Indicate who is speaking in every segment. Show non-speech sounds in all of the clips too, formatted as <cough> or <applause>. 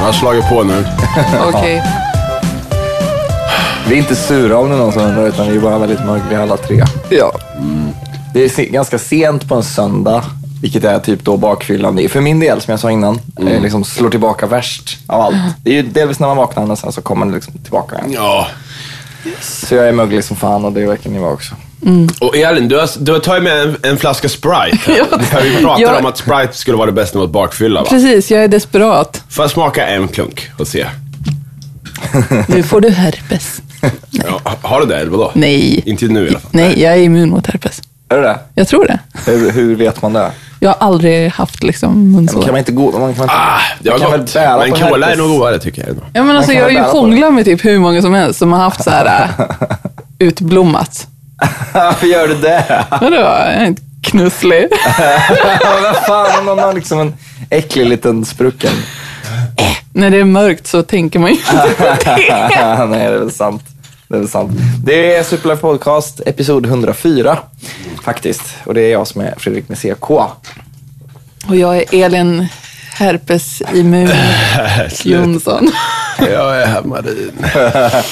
Speaker 1: Oh, har slagit på nu.
Speaker 2: Okej.
Speaker 3: Vi är inte sura om det är någon som undrar, utan vi är bara väldigt mörkliga alla tre. Mm.
Speaker 2: Ja.
Speaker 3: Det är se- ganska sent på en söndag, vilket är typ då bakfyllan. Det är För min del, som jag sa innan, eh, liksom slår tillbaka värst av allt. Det är ju delvis när man vaknar, men sen så kommer det liksom tillbaka igen.
Speaker 1: Ja.
Speaker 3: Så jag är möglig som fan och det verkar ni vara också.
Speaker 1: Och Elin, du har, du har tagit med en, en flaska Sprite. <laughs>
Speaker 2: Ja.
Speaker 1: här. Vi pratade
Speaker 2: Ja.
Speaker 1: om att Sprite skulle vara det bästa mot bakfylla va?
Speaker 2: Precis, jag är desperat.
Speaker 1: Får jag smaka en klunk och se?
Speaker 2: Nu får du herpes.
Speaker 1: Ja, ha- har du det eller vadå?
Speaker 2: Nej.
Speaker 1: Inte nu i alla fall.
Speaker 2: Nej, jag är immun mot herpes.
Speaker 3: Är det det?
Speaker 2: Jag tror det.
Speaker 3: Hur, hur vet man det?
Speaker 2: Jag har aldrig haft liksom
Speaker 3: Men
Speaker 2: munsår.
Speaker 3: kan man inte gå... Man kan inte,
Speaker 1: Ah, det
Speaker 3: man
Speaker 1: var
Speaker 3: kan väl
Speaker 1: gott.
Speaker 3: bära
Speaker 1: Men
Speaker 3: på
Speaker 1: cola är
Speaker 3: herpes?
Speaker 1: nog godare tycker jag. ändå.
Speaker 2: Ja, men alltså,
Speaker 3: kan
Speaker 2: jag har
Speaker 3: väl
Speaker 2: ju
Speaker 3: bära på
Speaker 2: hånglat med typ hur många som helst som har haft så här
Speaker 3: <laughs>
Speaker 2: äh, utblommat.
Speaker 3: Ah, Varför gör du det?
Speaker 2: Vadå? Jag är inte knusslig.
Speaker 3: Ja, Vad fan, om någon har liksom en äcklig liten sprucken.
Speaker 2: När det är mörkt så tänker man ju inte på
Speaker 3: <laughs>
Speaker 2: det.
Speaker 3: Nej, det är väl sant. Det är väl sant. Det är Superlife Podcast, episod 104. Faktiskt. Och det är jag som är Fredrik med CK.
Speaker 2: Och jag är Elin Herpes Immun
Speaker 1: <laughs>
Speaker 2: Jonsson.
Speaker 1: Jag är hemmarin.
Speaker 2: <laughs>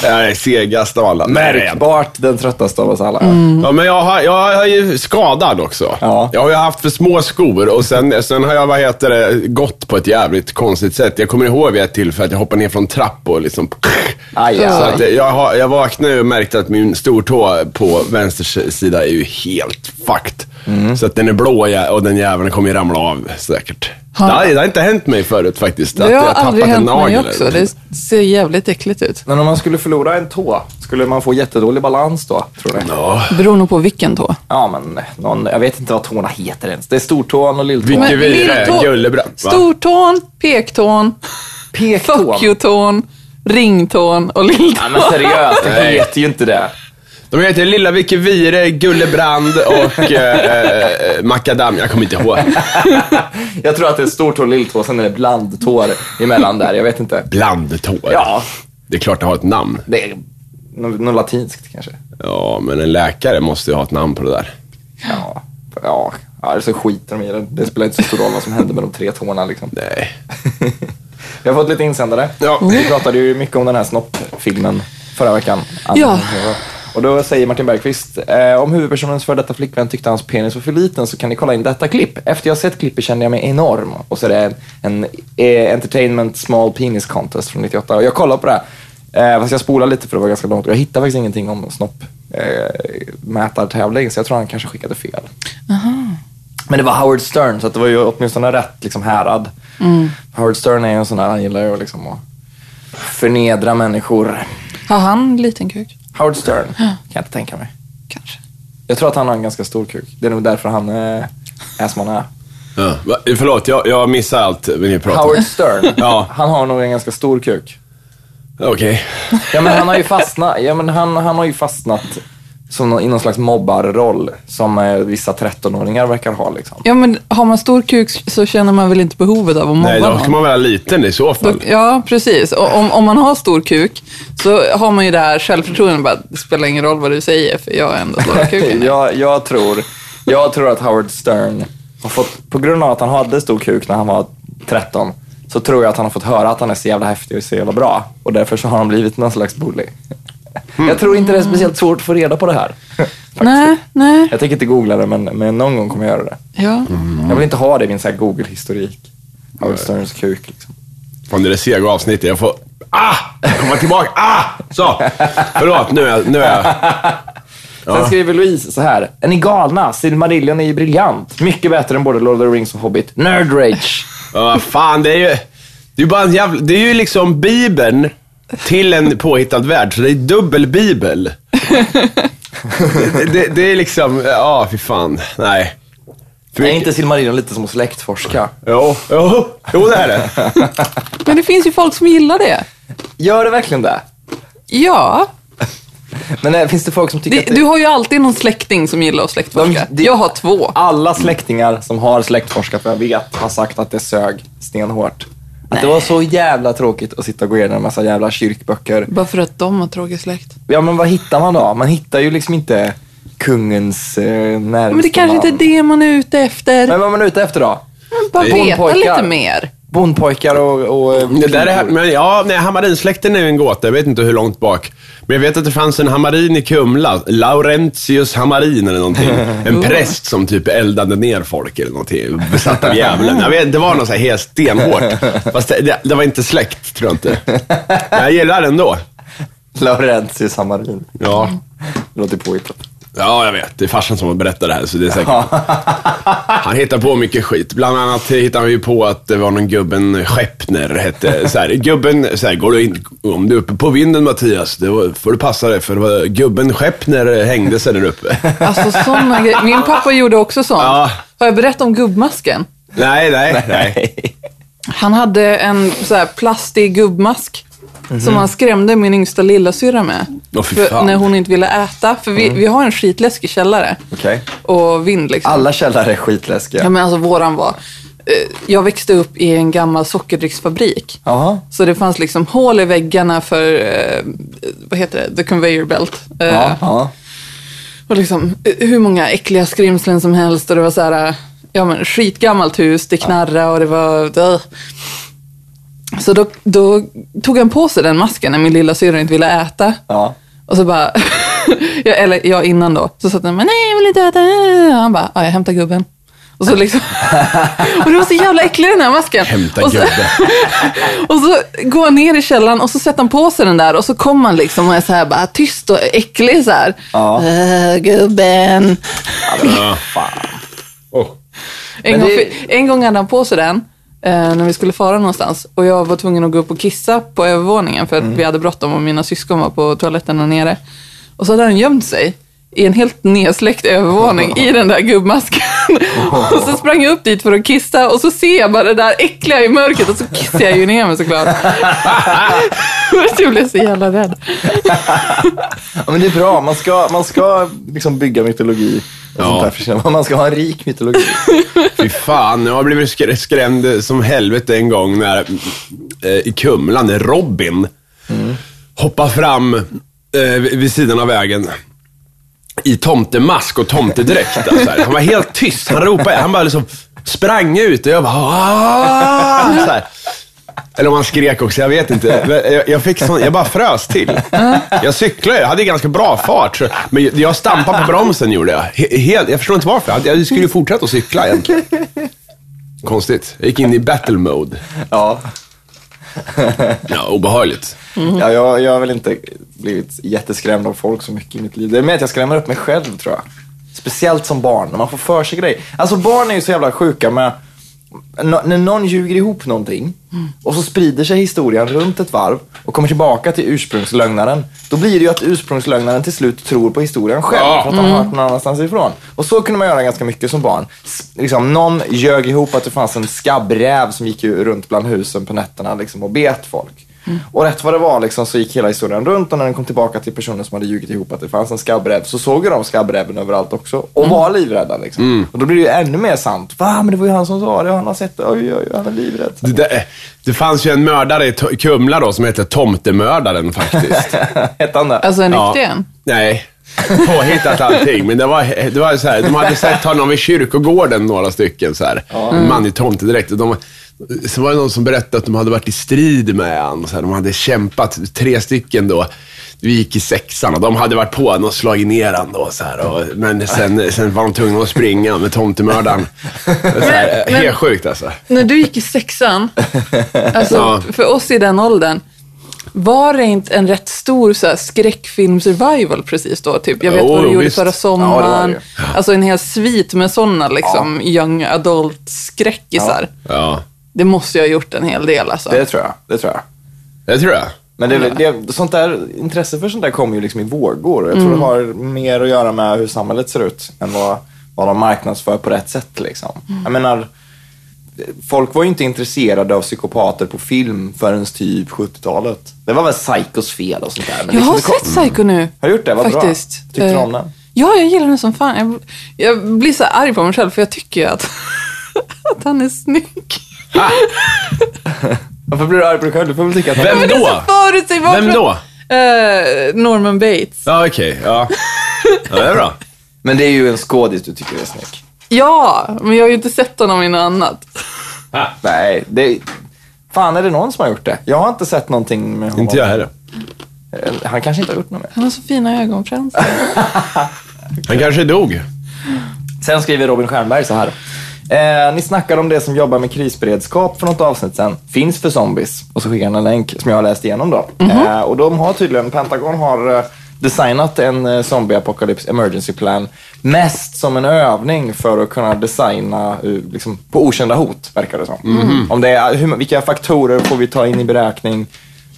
Speaker 1: Jag är segast av alla. Nej, det är jag inte.
Speaker 3: Märkbart den tröttaste av oss alla.
Speaker 1: Ja, men jag, har, jag är ju skadad också.
Speaker 3: Ja.
Speaker 1: Jag har ju haft för små skor och sen, sen har jag vad heter det, gått på ett jävligt konstigt sätt. Jag kommer ihåg vid ett tillfälle att jag hoppade ner från trappor och liksom...
Speaker 3: Aj, aj.
Speaker 1: Så att jag, har, jag vaknade ju och märkte att min stortå på vänster sida är ju helt fucked.
Speaker 2: Mm.
Speaker 1: Så att den är blå jä- och den jäveln kommer ju ramla av säkert.
Speaker 2: Har-
Speaker 1: Det har, det har inte hänt mig förut faktiskt. att
Speaker 2: Det
Speaker 1: jag
Speaker 2: har
Speaker 1: tappat
Speaker 2: aldrig
Speaker 1: en
Speaker 2: hänt mig
Speaker 1: nagel
Speaker 2: också.
Speaker 1: eller-
Speaker 2: Det ser jävligt äckligt ut.
Speaker 3: Men om man skulle förlora en tå, skulle man få jättedålig balans då, tror du?
Speaker 1: Ja.
Speaker 2: Beror nog på vilken tå.
Speaker 3: Ja, men någon, jag vet inte vad tårna heter ens. Det är stortån och lilltån.
Speaker 1: Vilken-
Speaker 3: Men...
Speaker 1: Det är vi, det är
Speaker 2: lilltå-
Speaker 1: Gullebrand, va?
Speaker 2: Stortån, pektån,
Speaker 3: Pektån.
Speaker 2: fuck you-tån, ringtån och
Speaker 3: Ja,
Speaker 2: lilltån.
Speaker 3: men seriöst, det
Speaker 1: Nej.
Speaker 3: heter ju inte det.
Speaker 1: De heter Lilla Vicky Vire, Gulle Brand och eh, eh, Macadam. Jag kommer inte ihåg.
Speaker 3: Jag tror att det är stortå och lilltå, sen är det blandtår emellan där. Jag vet inte.
Speaker 1: Blandtår.
Speaker 3: Ja.
Speaker 1: Det är klart det har ett namn.
Speaker 3: Det är något, något latinskt kanske.
Speaker 1: Ja, men en läkare måste ju ha ett namn på det där.
Speaker 3: Ja, ja. ja eller så skiter de i det. Det spelar inte så stor roll vad som hände med de tre tårna. Liksom.
Speaker 1: Nej.
Speaker 3: Vi har fått lite insändare.
Speaker 1: Ja.
Speaker 3: Vi pratade ju mycket om den här snoppfilmen förra veckan.
Speaker 2: Ja.
Speaker 3: Och då säger Martin Bergqvist, eh, om huvudpersonens före detta flickvän tyckte hans penis var för liten så kan ni kolla in detta klipp. Efter jag sett klippet kände jag mig enorm. Och så är det en, en eh, Entertainment Small Penis Contest från 98. Och jag kollade på det här, eh, fast jag spolade lite för det var ganska långt. Och jag hittade faktiskt ingenting om snopp eh, mätartävling, så jag tror han kanske skickade fel. Men det var Howard Stern, så att det var ju åtminstone rätt liksom, härad. Howard Stern är ju en sån där, han gillar ju att liksom, att förnedra människor.
Speaker 2: Har han liten kuk?
Speaker 3: Howard Stern, kan jag inte tänka mig.
Speaker 2: Kanske.
Speaker 3: Jag tror att han har en ganska stor kuk. Det är nog därför han eh, är som han är.
Speaker 1: Ja. Va, Förlåt, jag, jag missar allt när ni pratar.
Speaker 3: Howard Stern,
Speaker 1: Ja.
Speaker 3: han har nog en ganska stor kuk.
Speaker 1: Okej.
Speaker 3: Ja, men han har ju fastnat, ja, men han, han har ju fastnat som någon, i någon slags mobbarroll som eh, vissa 13-åringar verkar ha. Liksom.
Speaker 2: Ja, men har man stor kuk så känner man väl inte behovet av att mobba
Speaker 1: Nej, då ska
Speaker 2: någon?
Speaker 1: man vara liten i så fall.
Speaker 2: Då- Ja, precis. Och om, om man har stor kuk så har man ju det här självförtroendet. Bara, det spelar ingen roll vad du säger för jag har
Speaker 1: <laughs>
Speaker 2: ändå stora kuken.
Speaker 3: jag, jag, tror, jag tror att Howard Stern har fått, på grund av att han hade stor kuk när han var 13, så tror jag att han har fått höra att han är så jävla häftig och så jävla bra. Och därför så har han blivit någon slags bully. Jag tror inte det är speciellt svårt att få reda på det här.
Speaker 2: Nej, nej.
Speaker 3: Jag tänker inte googla det, men, men någon gång kommer jag göra det.
Speaker 2: Ja.
Speaker 1: Mm.
Speaker 3: Jag vill inte ha det i min så här Google-historik. Howard Sterns kuk. Liksom.
Speaker 1: Fan, det är det sega avsnittet. Jag får... Ah! Komma tillbaka. Ah! Så! Förlåt, nu är jag... Nu är jag.
Speaker 3: Sen skriver Louise så här. Är ni galna? Silmarillion är ju briljant. Mycket bättre än både Lord of the Rings och Hobbit. Nerd rage.
Speaker 1: Ja, vad fan, det är ju... Det är ju bara en jävla... Det är ju liksom Bibeln till en påhittad värld, så det är dubbel Bibel. Det, det, det är liksom, ja fy fan, nej. För
Speaker 3: Är
Speaker 1: mycket-
Speaker 3: inte Silmarillion lite som att släktforska?
Speaker 1: Jo, jo, jo det är det.
Speaker 2: Men det finns ju folk som gillar det.
Speaker 3: Gör det verkligen det?
Speaker 2: Ja.
Speaker 3: Men eh, finns det folk som tycker
Speaker 2: Det,
Speaker 3: att det,
Speaker 2: du har ju alltid någon släkting som gillar att släktforska.
Speaker 3: De- det-
Speaker 2: jag har två.
Speaker 3: alla släktingar som har släktforskat vad jag vet har sagt att det sög stenhårt? Att det var så jävla tråkigt att sitta och gå igenom en massa jävla kyrkböcker.
Speaker 2: Bara för att de har tråkig släkt.
Speaker 3: Ja, men vad hittar man då? Man hittar ju liksom inte kungens eh, närmaste
Speaker 2: Men det kanske inte
Speaker 3: man.
Speaker 2: är det man är ute efter.
Speaker 3: Men vad är man ute efter då?
Speaker 2: Bara
Speaker 1: Det är-
Speaker 2: veta
Speaker 3: Bondpojkar.
Speaker 2: lite mer.
Speaker 3: bondpojkar och... och
Speaker 1: Det där är, men ja, nej, Hammarinsläkten är ju en gåta. Jag vet inte hur långt bak. Men jag vet att det fanns en Hammarin i Kumla. Laurentius Hammarin eller någonting. En präst som typ eldade ner folk eller någonting. Besatt av djävulen. Jag vet, det var något så här helt stenhårt. Fast det, det, det var inte släkt, tror jag inte. Men jag gillar det ändå.
Speaker 3: Laurentius Hammarin.
Speaker 1: Ja.
Speaker 3: Det låter påhittat.
Speaker 1: ja, jag vet. Det är farsan som har berättat det här, så det är säkert. <laughs> Han hittar på mycket skit. Bland annat hittar han ju på att det var någon gubben Skeppner hette. Så här, gubben, så här, går du in, om du är uppe på vinden Mattias, det var, får du passa dig för det var, gubben Skeppner hängde sig där <laughs> uppe.
Speaker 2: Alltså sådana grejer. Min pappa gjorde också sånt.
Speaker 1: Ja.
Speaker 2: Har jag berättat om gubbmasken?
Speaker 1: Nej, nej, nej.
Speaker 2: <laughs> Han hade en så här plastig gubbmask som han skrämde min yngsta lillasyrra med.
Speaker 1: Åh, fy
Speaker 2: För-
Speaker 1: fan. Mm.
Speaker 2: när hon inte ville äta. För vi, vi har en skitläskig källare.
Speaker 3: Okej.
Speaker 2: Och vind liksom.
Speaker 3: Alla källare är
Speaker 2: Ja,
Speaker 3: skitläskiga.
Speaker 2: men alltså våran var... eh, Jag växte upp i en gammal sockerdrycksfabrik.
Speaker 3: Jaha.
Speaker 2: Så det fanns liksom hål i väggarna för, eh, vad heter det, the conveyor belt. Eh,
Speaker 3: Ja, ja.
Speaker 2: Och liksom eh, hur många äckliga skrimslen som helst och det var så här, eh, ja men skitgammalt hus, det knarrade och det var... Äh. Så då, då tog han på sig den masken när min lilla syster inte ville äta.
Speaker 3: ja.
Speaker 2: Och så bara, <laughs> jag, eller jag innan då, så satt han men nej jag vill inte äta. Och han bara, ja jag hämtar gubben. Och så liksom, <laughs> och det var så jävla äcklig den här masken.
Speaker 1: Hämta
Speaker 2: och så,
Speaker 1: gubben.
Speaker 2: <laughs> och så går han ner i källaren och så sätter han på sig den där och så kommer han liksom och är så här bara tyst och äcklig så här.
Speaker 3: Ja.
Speaker 2: "Äh, gubben.
Speaker 3: Fan.
Speaker 1: Oh.
Speaker 2: En gång,
Speaker 3: det-
Speaker 2: fi- en gång hade han på sig den eh, när vi skulle fara någonstans och jag var tvungen att gå upp och kissa på övervåningen för att vi hade bråttom och mina syskon var på toaletten där nere. Och så hade han gömt sig i en helt nedsläckt övervåning i den där gubbmasken. Och så sprang jag upp dit för att kissa och så ser jag bara det där äckliga i mörkret och så kissar jag ju ner mig såklart. <laughs> jag blev så jävla rädd.
Speaker 3: Ja, men det är bra. Man ska, man ska liksom bygga mytologi. Och
Speaker 1: Ja.
Speaker 3: sånt där för sig. Man ska ha en rik mytologi.
Speaker 1: Fy fan, jag har blivit skr- skrämd som helvete en gång när, eh, i Kumla när Robin hoppar fram eh, vid vid sidan av vägen. I tomtemask och tomtedräkt. Alltså. så här. Han var helt tyst. Han ropade. Han bara liksom sprang ut och jag bara "Ah!" så här. Eller om han skrek också, jag vet inte. Men Jag, jag, fick sån, jag bara frös till. Jag cyklade, jag hade ganska bra fart. Så, men jag stampade på bromsen gjorde jag. He, helt, jag förstår inte varför. Jag, jag skulle ju fortsätta att cykla egentligen. Konstigt. Jag gick in i battle mode.
Speaker 3: Ja.
Speaker 1: Ja, obehagligt.
Speaker 3: Ja, jag, jag har väl inte blivit jätteskrämd av folk så mycket i mitt liv. Det är mer att jag skrämmer upp mig själv tror jag. Speciellt som barn, när man får för sig grejer. Alltså barn är ju så jävla sjuka med Nå- när någon ljuger ihop någonting
Speaker 1: Mm.
Speaker 3: och så sprider sig historien runt ett varv och kommer tillbaka till ursprungslögnaren. Då blir det ju att ursprungslögnaren till slut tror på historien själv
Speaker 1: Ja.
Speaker 3: för att han har hört någon annanstans ifrån. Och så kunde man göra ganska mycket som barn. S- liksom, någon ljög ihop att det fanns en skabbräv som gick ju runt bland husen på nätterna liksom, och bet folk. Och rätt vad det var liksom, så gick hela historien runt och när den kom tillbaka till personen som hade ljugit ihop att det fanns en skabbräv så såg ju de skabbräven överallt också och var livrädda. Liksom. Och då blir det ju ännu mer sant. Va, men det var ju han som sa det, han har sett det, oj, oj, oj, han är livrädd. <laughs>
Speaker 1: Det, där, det fanns ju en mördare i To- Kumla då som hette Tomtemördaren faktiskt.
Speaker 3: Hette han det?
Speaker 2: Alltså en riktig en.
Speaker 1: Nej. Påhittat allting. Men det var, det var så här, de hade sett honom vid kyrkogården, några stycken. Så här. En man i tomtedräkt. Och de, så var det någon som berättade att de hade varit i strid med honom. Så här, de hade kämpat, tre stycken då. Vi gick i sexan och de hade varit på honom och slagit ner honom. Då, så här, och, men sen, sen var de tvungna att springa med tomtemördaren. Så här,
Speaker 2: Men- men-
Speaker 1: helt sjukt alltså.
Speaker 2: När du gick i
Speaker 3: <laughs>
Speaker 2: sexan, alltså
Speaker 1: Ja.
Speaker 2: för oss i den åldern, var det inte en rätt stor så här, skräckfilm-survival precis då? Typ, jag vet
Speaker 1: Jo,
Speaker 2: vad du
Speaker 1: jo,
Speaker 2: gjorde
Speaker 1: visst.
Speaker 2: förra
Speaker 3: Ja, det var
Speaker 2: sommaren.
Speaker 3: det
Speaker 2: alltså en hel svit med sådana liksom, young adult-skräckisar.
Speaker 1: Ja,
Speaker 2: Det måste jag ha gjort en hel del alltså.
Speaker 3: Det tror jag. Det tror jag.
Speaker 1: det tror jag.
Speaker 3: Men det, det, sånt där, intresse för sånt där kommer ju liksom i vågor. och Jag
Speaker 2: Mm.
Speaker 3: tror det har mer att göra med hur samhället ser ut än vad, vad de marknadsför på rätt sätt. Liksom.
Speaker 2: Mm.
Speaker 3: Jag menar, folk var ju inte intresserade av psykopater på film förrän typ 70-talet. Det var väl Psychos fel och sånt där. Men
Speaker 2: Jag har
Speaker 3: liksom, det kom-
Speaker 2: sett Psycho nu.
Speaker 3: Har du gjort det? Vad bra.
Speaker 2: faktiskt.
Speaker 3: Tyckte du
Speaker 2: Eh,
Speaker 3: om den?
Speaker 2: Ja, jag gillar den som fan. Jag, jag blir så arg på mig själv för jag tycker ju att, <laughs> att han är snygg.
Speaker 3: Varför blir du arg på dig själv? Du får väl tycka att
Speaker 1: Vem
Speaker 2: Men det är
Speaker 1: då?
Speaker 2: så förutsägbart.
Speaker 1: Vem då?
Speaker 2: Eh, Norman Bates.
Speaker 1: Ja, okej. ja. ja, det är bra.
Speaker 3: Men det är ju en skådis du tycker är snygg.
Speaker 2: Ja, men jag har ju inte sett honom i något annat.
Speaker 3: Nej, det, Fan, är det någon som har gjort det? Jag har inte sett någonting med honom.
Speaker 1: Inte jag heller.
Speaker 3: Eller, Han kanske inte har gjort något mer.
Speaker 2: Han har så fina ögonfransar.
Speaker 1: Han kanske dog.
Speaker 3: Sen skriver Robin Stjernberg så här. Eh, ni snackar om det som jobbar med krisberedskap för något avsnitt sen. Finns för zombies. Och så skickar han en länk som jag har läst igenom då. Eh, och de har tydligen, Pentagon har eh, designat en eh, zombie apocalypse emergency plan. Mest som en övning för att kunna designa eh, liksom, på okända hot, verkar det som. Om det är, hur, vilka faktorer får vi ta in i beräkning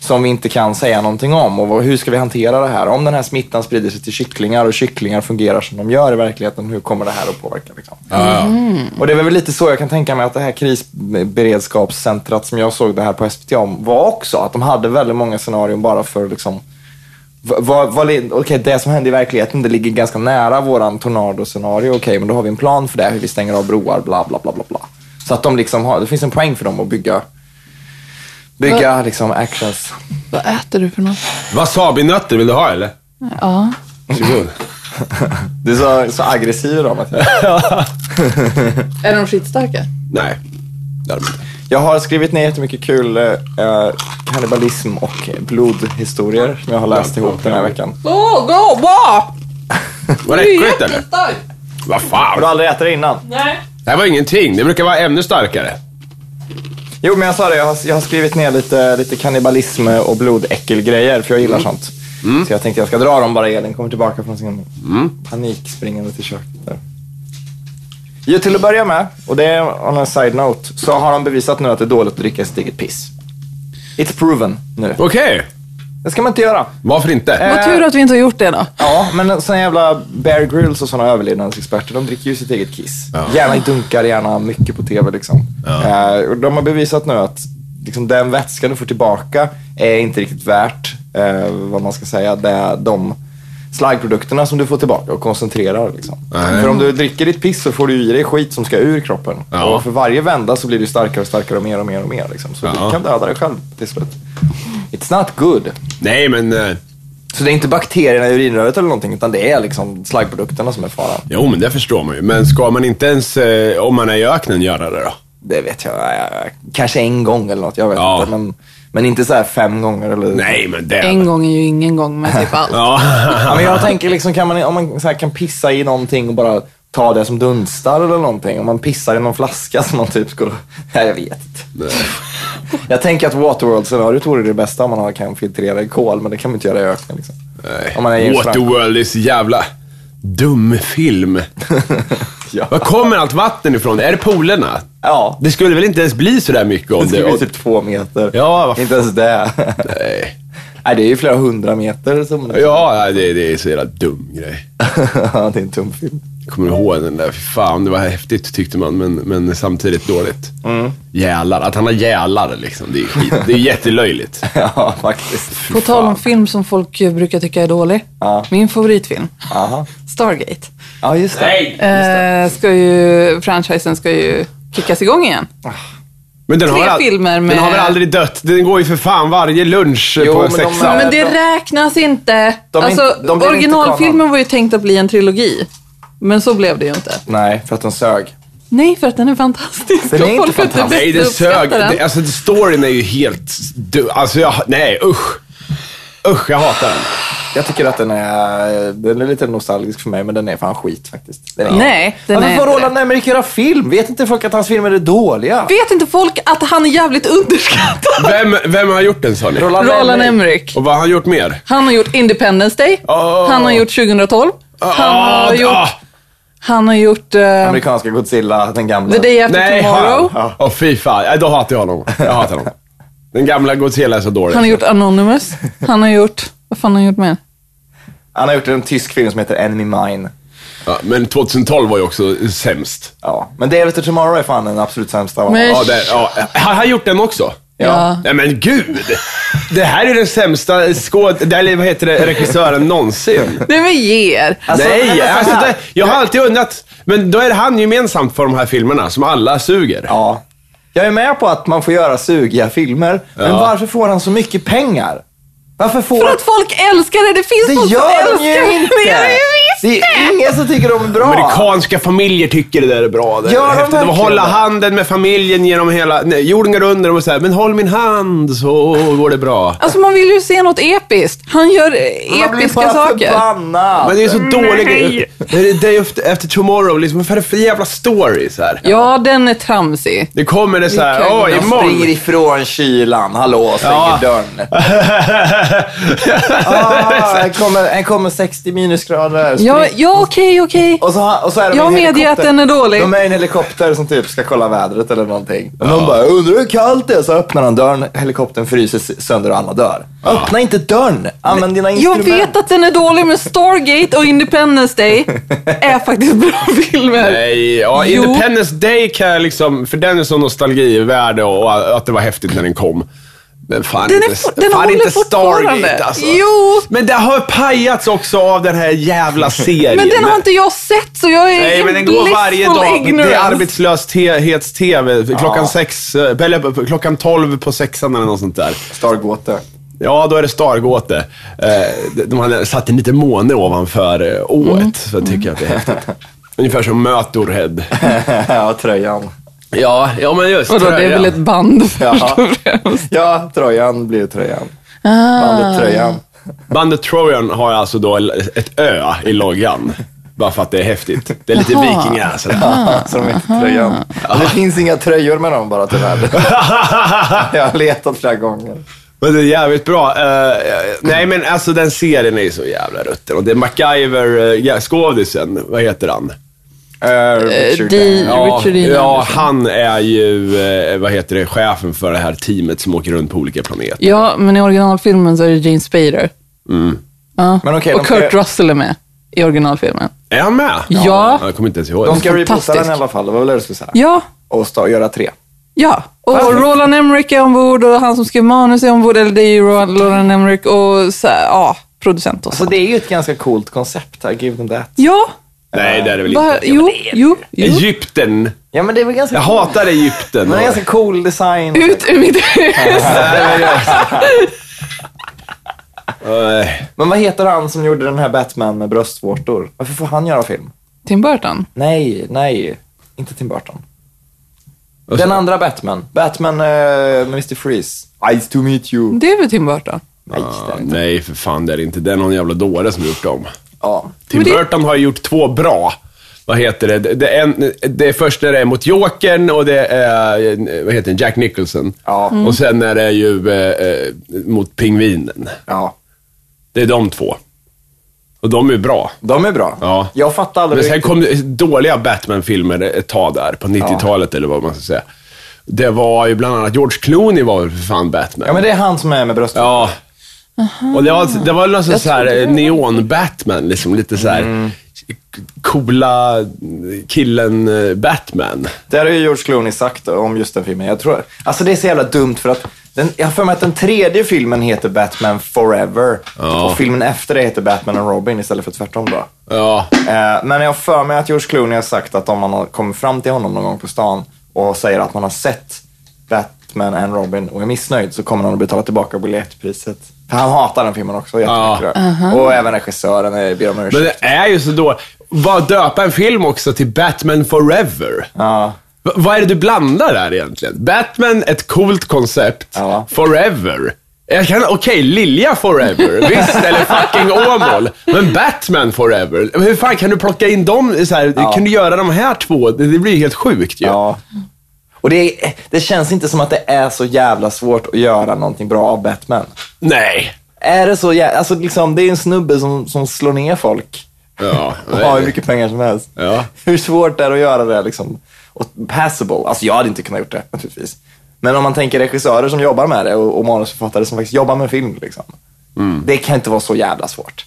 Speaker 3: som vi inte kan säga någonting om och vad- hur ska vi hantera det här? Om den här smittan sprider sig till kycklingar och kycklingar fungerar som de gör i verkligheten, hur kommer det här att påverka? Liksom? Och det är väl lite så jag kan tänka mig att det här krisberedskapscentrat som jag såg det här på SVT om var också. Att de hade väldigt många scenarion bara för liksom v- vad, vad, li- okej, det som hände i verkligheten det ligger ganska nära våran tornadoscenario. Okej, men då har vi en plan för det, hur vi stänger av broar, bla bla bla bla. bla. Så att de liksom har, det finns en poäng för dem att bygga, bygga liksom actions.
Speaker 2: Vad äter du för något?
Speaker 1: Wasabinötter vill du ha eller?
Speaker 2: Ja.
Speaker 1: Varsågod.
Speaker 3: Du är så, så aggressiv idag Mattias.
Speaker 2: Är de skitstarka?
Speaker 1: Nej, det hade de inte.
Speaker 3: Jag har skrivit ner jättemycket kul eh, kannibalism och blodhistorier som jag har läst ihop den här veckan.
Speaker 2: Åh, gå, bra!
Speaker 1: Var det äckligt eller?
Speaker 2: jättestark.
Speaker 1: Vad
Speaker 3: Har du
Speaker 1: fan?
Speaker 3: aldrig ätit det innan?
Speaker 2: Nej.
Speaker 1: Det här var ingenting. Det brukar vara ännu starkare.
Speaker 3: Jo, men jag sa det. Jag har, jag har skrivit ner lite, lite kannibalism och blodäckelgrejer, för jag gillar sånt. Så jag tänkte jag ska dra dem bara Elin kommer tillbaka från sin panik springande till köket. Där. Jo, till att börja med, och det är on a side note, så har de bevisat nu att det är dåligt att dricka sitt eget piss. It's proven nu.
Speaker 1: Okej,
Speaker 3: Det ska man inte göra.
Speaker 1: varför
Speaker 3: Äh.
Speaker 1: inte?
Speaker 3: Eh.
Speaker 2: Vad tur att vi inte har gjort det då.
Speaker 3: Ja, men såna jävla Bear Grylls och såna överlevnadsexperter, de dricker ju sitt eget kiss. Gärna i dunkar, gärna mycket på tv liksom. Eh, och de har bevisat nu att liksom, den vätska du får tillbaka är inte riktigt värt, eh, vad man ska säga, det, de slaggprodukterna som du får tillbaka och koncentrerar. Liksom.
Speaker 1: Nej.
Speaker 3: För om du dricker ditt piss så får du i dig skit som ska ur kroppen.
Speaker 1: Ja.
Speaker 3: Och för varje vända så blir du starkare och starkare och mer och mer och mer. Liksom. Så
Speaker 1: Ja.
Speaker 3: du kan döda dig själv till slut. It's not good.
Speaker 1: Nej men, eh,
Speaker 3: Så det är inte bakterierna i urinröret eller någonting, utan det är liksom slaggprodukterna som är faran.
Speaker 1: jo men det förstår man ju. Men ska man inte ens, eh, om man är i öknen, göra det då?
Speaker 3: Det vet jag, eh, kanske en gång eller något, jag vet
Speaker 1: Ja.
Speaker 3: inte. Men, men inte så här fem gånger eller...
Speaker 1: Nej men det...
Speaker 2: En gång är ju ingen gång, men typ allt.
Speaker 1: Ja.
Speaker 3: Ja,
Speaker 1: <laughs>
Speaker 3: men jag tänker liksom, kan man, om man så här, kan pissa i någonting och bara ta det som dunstar eller någonting. Om man pissar i någon flaska som man typ skulle... <laughs> Nej, jag vet inte. Jag tänker att Waterworld-scenariot vore det bästa om man har- kan filtrera i kol, men det kan man inte göra i öknen. Liksom. <laughs> Om man är James Franco.
Speaker 1: Waterworld är så jävla dum film. Var
Speaker 3: Ja.
Speaker 1: kommer allt vatten ifrån? Är det polerna?
Speaker 3: ja.
Speaker 1: Det skulle väl inte ens bli sådär mycket om
Speaker 3: Det
Speaker 1: det...
Speaker 3: skulle bli typ två meter.
Speaker 1: Ja, vad
Speaker 3: Inte ens det.
Speaker 1: Nej.
Speaker 3: Nej, det är ju flera hundra meter som...
Speaker 1: Ja, nej, det, det är så jävla dum grej.
Speaker 3: <laughs> Ja, det är en tumfilm.
Speaker 1: Kommer du ihåg den där? Fy fan, det var häftigt tyckte man, men, men samtidigt dåligt. Jälar. Att han har jälar liksom, det är skit. Det är
Speaker 2: <laughs>
Speaker 1: jättelöjligt.
Speaker 3: Ja, faktiskt.
Speaker 2: På tal om film som folk eh, brukar tycka är dålig.
Speaker 3: Ja.
Speaker 2: Min favoritfilm,
Speaker 3: Aha.
Speaker 2: Stargate.
Speaker 3: Ja, just det. Nej.
Speaker 2: Eh, ska ju, franchisen ska ju kickas igång igen.
Speaker 1: Men den
Speaker 2: Tre
Speaker 1: har, all-
Speaker 2: filmer med-
Speaker 1: den har väl aldrig dött? Den går ju för fan varje lunch
Speaker 3: Jo,
Speaker 1: på
Speaker 3: men de
Speaker 1: sexan.
Speaker 3: är-
Speaker 2: Men det räknas inte.
Speaker 3: De är
Speaker 2: alltså,
Speaker 3: inte- de blir inte
Speaker 2: originalfilmen
Speaker 3: kanon.
Speaker 2: var ju tänkt att bli en trilogi. Men så blev det ju inte.
Speaker 3: för att de sög.
Speaker 2: Nej, för att den är fantastisk.
Speaker 3: Den är
Speaker 2: och
Speaker 3: inte
Speaker 2: folk har inte
Speaker 3: fantastisk.
Speaker 1: Nej,
Speaker 2: bäst
Speaker 1: den sög.
Speaker 2: uppskattar den.
Speaker 1: Det, alltså storyn är ju helt... Du, alltså jag... Nej, usch. Usch, jag hatar den.
Speaker 3: Jag tycker att den är, den är lite nostalgisk för mig, men den är fan skit faktiskt. Den är-
Speaker 2: Nej, den
Speaker 3: Varför
Speaker 2: är
Speaker 3: får
Speaker 2: inte
Speaker 3: Roland Emmerich göra film? Vet inte folk att hans filmer är dåliga?
Speaker 2: Vet inte folk att han är jävligt underskattad?
Speaker 1: Vem, vem har gjort den sa ni?
Speaker 2: Roland Emmerich.
Speaker 1: Och vad har han gjort mer?
Speaker 2: Han har gjort Independence Day.
Speaker 1: Åh.
Speaker 2: Han har gjort 2012. Han har
Speaker 1: Ah,
Speaker 2: gjort...
Speaker 1: ah,
Speaker 2: Han har gjort... eh,
Speaker 3: Amerikanska Godzilla, den gamla.
Speaker 2: The Day After
Speaker 1: nej,
Speaker 2: Tomorrow.
Speaker 1: han. Åh fy fan. Nej, Då hatar jag honom. Jag hatar honom. Den gamla Godzilla är så dålig.
Speaker 2: Han har gjort Anonymous. Han har gjort... Vad fan har han gjort mer?
Speaker 3: Han har gjort en tysk film som heter Enemy Mine.
Speaker 1: Ja, men 2012 var ju också sämst.
Speaker 3: Ja. Men Day After Tomorrow är fan den absolut sämsta. av
Speaker 2: Men-
Speaker 3: alla.
Speaker 1: Ja, det, ja. Har han gjort den också?
Speaker 2: Ja.
Speaker 1: Nej men gud! Det här är den sämsta skåd... Eller vad heter det? Regissören någonsin.
Speaker 2: Nej men ge er.
Speaker 3: Alltså, men
Speaker 1: Nej,
Speaker 3: så
Speaker 1: alltså
Speaker 3: här.
Speaker 1: det, jag har alltid undrat. Men då är det han gemensamt för de här filmerna som alla suger.
Speaker 3: Ja. Jag är med på att man får göra sugiga filmer, men
Speaker 1: Ja.
Speaker 3: varför får han så mycket pengar? Varför får
Speaker 2: För att folk älskar det. Det finns
Speaker 3: Det
Speaker 2: folk som
Speaker 3: gör de
Speaker 2: älskar
Speaker 3: ju inte!
Speaker 2: Det gör de ju
Speaker 3: Det är ingen som tycker de är bra.
Speaker 1: Amerikanska familjer tycker det där är bra. Det är
Speaker 3: Gör de
Speaker 1: häftigt.
Speaker 3: verkligen
Speaker 1: hålla
Speaker 3: det?
Speaker 1: handen med familjen genom hela... Nej, jorden går under. De är så här, men håll min hand så går det bra.
Speaker 2: Alltså man vill ju se något episkt. Han gör eh,
Speaker 3: Man blir
Speaker 2: episka
Speaker 3: bara
Speaker 2: saker.
Speaker 3: förbannad.
Speaker 1: Men det är så dålig... Det är Day after, after tomorrow, liksom. Vad är det för jävla story? Så här.
Speaker 2: Ja, den är tramsig.
Speaker 1: Det kommer det så här,
Speaker 2: Vilken-
Speaker 1: åh,
Speaker 2: de
Speaker 3: De springer
Speaker 1: <laughs> imorgon.
Speaker 3: ifrån kylan. Hallå, stänger
Speaker 1: Ja.
Speaker 3: dörren.
Speaker 1: <laughs>
Speaker 3: Ah, här kommer, här kommer 60 minusgrader.
Speaker 2: Ja,
Speaker 3: Spring-
Speaker 2: ja okej, okej.
Speaker 3: Och så, har- och så är de i
Speaker 2: Jag
Speaker 3: en
Speaker 2: medger
Speaker 3: helikopter.
Speaker 2: att den är dålig.
Speaker 3: De är i en helikopter som typ ska kolla vädret eller någonting. Och de bara, undrar hur kallt det är? Så öppnar han dörren, helikoptern fryser s- sönder och alla dör. Öppna inte dörren! Använd dina
Speaker 2: Jag
Speaker 3: instrument.
Speaker 2: vet att den är dålig, men Stargate och Independence
Speaker 1: <laughs>
Speaker 2: Day är faktiskt bra <laughs> filmer.
Speaker 1: Nej, ja,
Speaker 2: Jo.
Speaker 1: Independence Day kan jag liksom, för den är så nostalgivärde och, och att det var häftigt när den kom. Men fan
Speaker 2: Den är
Speaker 1: inte,
Speaker 2: for- den
Speaker 1: fan
Speaker 2: håller
Speaker 1: inte
Speaker 2: fortfarande.
Speaker 1: Stargate alltså.
Speaker 2: Jo.
Speaker 1: Men det har pajats också av den här <laughs> jävla serien.
Speaker 2: Men den har inte jag sett, så jag är
Speaker 1: Nej,
Speaker 2: in
Speaker 1: men den går varje
Speaker 2: blissful
Speaker 1: dag. Det är
Speaker 2: ignorance.
Speaker 1: arbetslöshets-tv klockan sex, eh, eller på- klockan tolv på sexan eller något sånt där.
Speaker 3: Stargåte.
Speaker 1: Ja, då är det Stargåte. Eh, De hade satt en liten måne ovanför eh, ået, så jag tycker att det är häftigt. Ungefär som Mötorhead.
Speaker 3: <laughs> ja, tröjan.
Speaker 1: Ja, ja men just
Speaker 2: Vadå, det är
Speaker 1: tröjan.
Speaker 2: väl ett band <laughs> först och främst.
Speaker 3: Ja, tröjan blir tröjan.
Speaker 2: Ah.
Speaker 3: Bandet tröjan.
Speaker 1: Bandet Trojan har alltså då ett ö i loggan. Bara för att det är häftigt. Det är lite
Speaker 2: Jaha.
Speaker 1: vikingar sådär. <laughs>
Speaker 2: Ah.
Speaker 3: Så de heter tröjan. Och det finns inga tröjor med dem bara tyvärr. <laughs> Jag har letat flera gånger.
Speaker 1: Men det är jävligt bra. Eh, eh, nej, men alltså den serien är ju så jävla rutten. Och det är MacGyver-skådisen, vad heter han?
Speaker 2: Eh,
Speaker 3: Uh, Richard
Speaker 2: de-
Speaker 3: Dane.
Speaker 1: Ja,
Speaker 2: Richard liksom. Dean
Speaker 1: ja,
Speaker 2: Anderson.
Speaker 1: han är ju, eh, vad heter det, chefen för det här teamet som åker runt på olika planeter.
Speaker 2: Ja, men i originalfilmen så är det Gene Spader. Ja.
Speaker 3: Mm. Men okej, de
Speaker 2: och
Speaker 3: ska-
Speaker 2: Kurt Russell är med i originalfilmen.
Speaker 1: Är han med?
Speaker 2: Ja.
Speaker 1: Jag kommer inte ens ihåg.
Speaker 3: De ska reboota
Speaker 2: Fantastisk.
Speaker 3: den i alla fall, det var väl det du skulle säga?
Speaker 2: Ja,
Speaker 3: Och sta- göra tre.
Speaker 2: ja. Och
Speaker 3: Perfekt.
Speaker 2: Roland Emmerich är ombord och han som skrev manus är ombord. Eller det är ju Roland Roland Emmerich och så, här, ja, producent och
Speaker 3: Alltså
Speaker 2: så.
Speaker 3: det är ju ett ganska coolt koncept, I give them that.
Speaker 2: Ja,
Speaker 1: Nej, det är det väl
Speaker 2: va,
Speaker 1: inte.
Speaker 2: jo, jo, jo.
Speaker 1: Egypten.
Speaker 3: Ja men det är väl ganska
Speaker 1: Jag
Speaker 3: coolt.
Speaker 1: hatar Egypten.
Speaker 3: Men det är ganska cool design.
Speaker 2: Ut ur mitt hus.
Speaker 3: <laughs>
Speaker 1: Nej.
Speaker 3: Men vad heter han som gjorde den här Batman med bröstvårtor? Varför får han göra film?
Speaker 2: Tim Burton.
Speaker 3: Nej, nej. Inte Tim Burton. Den andra Batman. Batman eh, med Mr. Freeze. Nice to meet you.
Speaker 2: Det är väl Tim Burton?
Speaker 3: Nej,
Speaker 1: Ah.
Speaker 3: det är det inte.
Speaker 1: Nej, för fan det är det inte. Det är någon jävla dåre som gjort dem.
Speaker 3: Ja.
Speaker 1: Tim
Speaker 2: Men det-
Speaker 1: Burton har ju gjort två bra. Vad heter det? Det, det, är, en, det är först när det är mot Jokern och det är eh, vad heter det? Jack Nicholson.
Speaker 3: Ja.
Speaker 1: Och sen är det ju eh, eh, mot Pingvinen.
Speaker 3: ja.
Speaker 1: Det är de två. Och de är bra.
Speaker 3: De är bra.
Speaker 1: Ja.
Speaker 3: Jag fattar aldrig
Speaker 1: Men sen
Speaker 3: riktigt.
Speaker 1: kom det dåliga Batman-filmer ett tag där, på 90-talet eller vad man ska säga. Det var ju bland annat George Clooney var väl för fan Batman.
Speaker 3: Ja men det är han som är med bröstvårtor.
Speaker 1: Ja. Och det var, det var nästan så här neon-Batman, liksom lite så här
Speaker 3: Mm.
Speaker 1: coola eh, killen-Batman.
Speaker 3: Det har ju George Clooney sagt om just den filmen. Jag tror, alltså det är så jävla dumt för att den, jag har för mig att den tredje filmen heter Batman Forever.
Speaker 1: Ja.
Speaker 3: Och filmen efter det heter Batman and Robin istället för tvärtom då.
Speaker 1: Ja.
Speaker 3: Eh, men jag har för mig att George Clooney har sagt att om man har kommit fram till honom någon gång på stan och säger att man har sett Batman and Robin och är missnöjd så kommer han att betala tillbaka biljettpriset. För han hatar den filmen också jättemycket. Och även regissören eh, ber om
Speaker 1: Men
Speaker 3: ursäkt.
Speaker 1: det är ju så då Vad döpa en film också till Batman Forever?
Speaker 3: Ja.
Speaker 1: V- vad är det du blandar där egentligen? Batman, ett coolt koncept.
Speaker 3: Ja.
Speaker 1: Forever. Jag kan, okej, Lilja
Speaker 3: <laughs>
Speaker 1: Forever, visst, eller fucking Åmål. Men Batman Forever, hur fan kan du plocka in dem? Så här, Kan du göra de här två? Det det blir ju helt sjukt ju.
Speaker 3: Ja. Och det, är- det känns inte som att det är så jävla svårt att göra någonting bra av Batman.
Speaker 1: Nej.
Speaker 3: Är det så jävla... Alltså liksom, det är ju en snubbe som, som slår ner folk.
Speaker 1: Ja,
Speaker 3: Och har hur mycket pengar som helst.
Speaker 1: Ja.
Speaker 3: Hur svårt är det att göra det liksom? Och passable. Alltså jag hade inte kunnat gjort det naturligtvis. Men om man tänker regissörer som jobbar med det och, och manusförfattare som faktiskt jobbar med film. Liksom.
Speaker 1: Mm.
Speaker 3: Det kan inte vara så jävla svårt.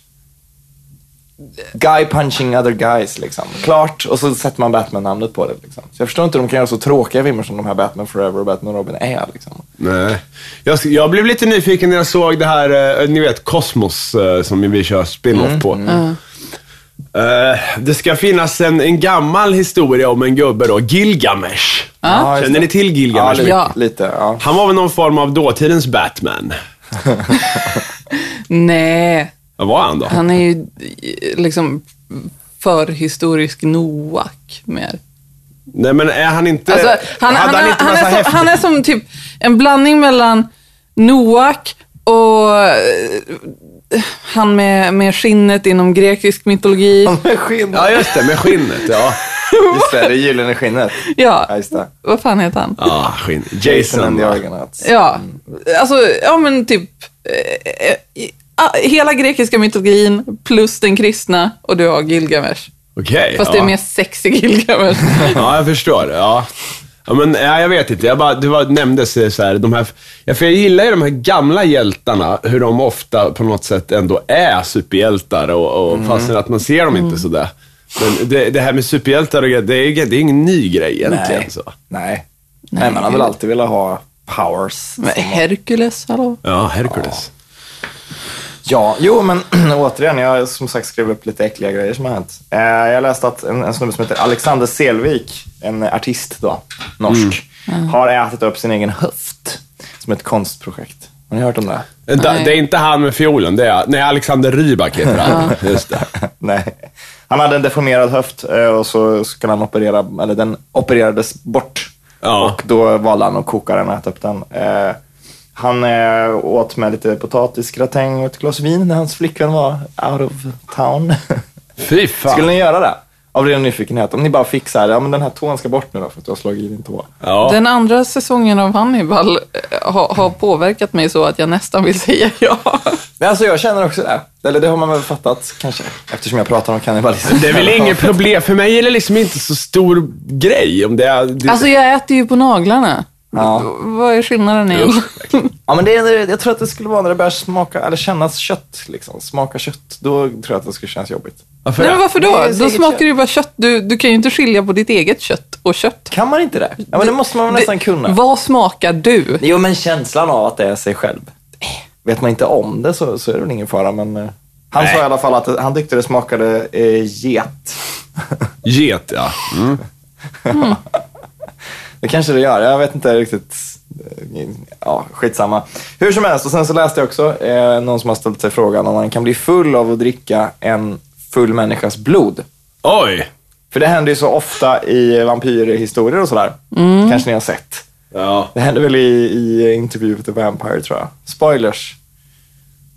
Speaker 3: Guy punching other guys liksom. Klart. Och så sätter man Batman-namnet på det. Liksom. Så jag förstår inte hur de kan göra så tråkiga filmer som de här Batman Forever och Batman Robin är. Liksom.
Speaker 1: Nej. Jag, jag blev lite nyfiken när jag såg det här, eh, ni vet, Cosmos eh, som vi kör spin-off
Speaker 2: Mm,
Speaker 1: på. Eh, det ska finnas en, en gammal historia om en gubbe då, Gilgamesh.
Speaker 3: Ja, just
Speaker 1: Känner ni
Speaker 3: det.
Speaker 1: till
Speaker 3: Ja,
Speaker 1: Gilgamesh?
Speaker 3: lite.
Speaker 2: Ja.
Speaker 3: lite ja.
Speaker 1: Han var väl någon form av dåtidens Batman.
Speaker 2: Nej.
Speaker 1: Vad var han då?
Speaker 2: Han är ju eh, liksom förhistorisk Noak mer.
Speaker 1: Nej men är han inte...
Speaker 2: Alltså, han, han,
Speaker 1: hade han,
Speaker 2: är-
Speaker 1: inte
Speaker 2: han,
Speaker 1: massa
Speaker 2: är som,
Speaker 1: häftigt?
Speaker 2: han är som typ en blandning mellan Noak och eh, han med, med skinnet inom grekisk mytologi.
Speaker 3: <laughs>
Speaker 1: Oh.
Speaker 3: Skinn.
Speaker 1: Ja just det, med skinnet ja.
Speaker 3: Just det, det gyllene skinnet. Ja,
Speaker 2: Ja,
Speaker 3: just det.
Speaker 2: vad fan heter han?
Speaker 1: Ja, Ah, skinn.
Speaker 3: Jason
Speaker 1: Jason.
Speaker 3: and the
Speaker 1: va?
Speaker 3: Argonauts.
Speaker 2: Ja, alltså, ja men typ eh, eh, i- ah, hela grekiska mytologin plus den kristna och du har Gilgamesh.
Speaker 1: Okej.
Speaker 2: Fast
Speaker 1: ja.
Speaker 2: det är mer sexy Gilgamesh.
Speaker 1: <laughs> Ja, jag förstår. Ja. Ja, men, ja, jag vet inte. Jag bara, du bara nämnde så så här, de här, ja, för jag gillar ju de här gamla hjältarna, hur de ofta på något sätt ändå är superhjältar, och, och fastän att man ser dem inte sådär. Men det, det här med superhjältar och grejer, det är, det är ingen ny grej egentligen. Så.
Speaker 3: Nej. Nej, man har väl alltid velat ha powers.
Speaker 2: Men Herkules, hallå?
Speaker 1: Ja, Hercules.
Speaker 3: Ja, jo men <clears throat> återigen, jag har som sagt skrev upp lite äckliga grejer som har hänt. Eh, jag läste att en, en snubbe som heter Alexander Selvik, en artist då, norsk, har ätit upp sin egen höft som ett konstprojekt. Har ni hört om det?
Speaker 1: Vänta,
Speaker 2: Nej.
Speaker 1: Det är inte han med fiolen, det är nej, Alexander Rybak heter han. Just det.
Speaker 3: <laughs> Nej. Han hade en deformerad höft eh, och så skulle han operera, eller den opererades bort.
Speaker 1: Ja.
Speaker 3: Och då valde han att koka den och äta upp den. Eh, han eh, åt med lite potatisgratäng och ett glas vin när hans flickvän var out of town. <laughs>
Speaker 1: Fy fan.
Speaker 3: Skulle ni göra det? Av ren nyfikenhet. Om ni bara fick så här, ja men den här tån ska bort nu då för att du har slagit i din tå.
Speaker 1: Ja.
Speaker 2: Den andra säsongen av Hannibal eh, har, har påverkat mig så att jag nästan vill <laughs> säga ja.
Speaker 3: Men alltså jag känner också det. Eller det har man väl fattat kanske. Eftersom jag pratar om kannibalism.
Speaker 1: Det är väl inget problem, för mig är det liksom inte så stor grej. Om det är, det,
Speaker 2: Alltså jag äter ju på naglarna.
Speaker 3: Ja.
Speaker 2: Vad är skillnaden egentligen?
Speaker 3: Ja, men det, är- jag tror att det skulle vara när det börjar smaka, eller kännas kött. Liksom. Smaka kött, då tror jag att det skulle kännas jobbigt.
Speaker 1: varför
Speaker 2: Nej,
Speaker 1: det?
Speaker 2: <laughs> men varför då?
Speaker 3: Det är
Speaker 2: Då
Speaker 3: säkert
Speaker 2: smakar
Speaker 3: kött.
Speaker 2: det ju bara kött. Du, du kan ju inte skilja på ditt eget kött och kött.
Speaker 3: Kan man inte det? Ja, men det måste man väl nästan kunna.
Speaker 2: Vad smakar du?
Speaker 3: Jo, men känslan av att det är sig själv. Vet man inte om det så, så är det väl ingen fara, men... eh, Han sa i alla fall att det- han tyckte det smakade eh, get. <laughs>
Speaker 1: Get, ja. Mm.
Speaker 3: Det kanske det gör. Jag vet inte riktigt. Eh, Ja, skitsamma. Hur som helst, och sen så läste jag också eh, någon som har ställt sig frågan om man kan bli full av att dricka en full människas blod.
Speaker 1: Oj!
Speaker 3: För det händer ju så ofta i vampyrhistorier och sådär.
Speaker 2: Mm.
Speaker 3: Kanske ni har sett.
Speaker 1: Ja.
Speaker 3: Det hände väl i, i Interview with the Vampire, tror jag. Spoilers.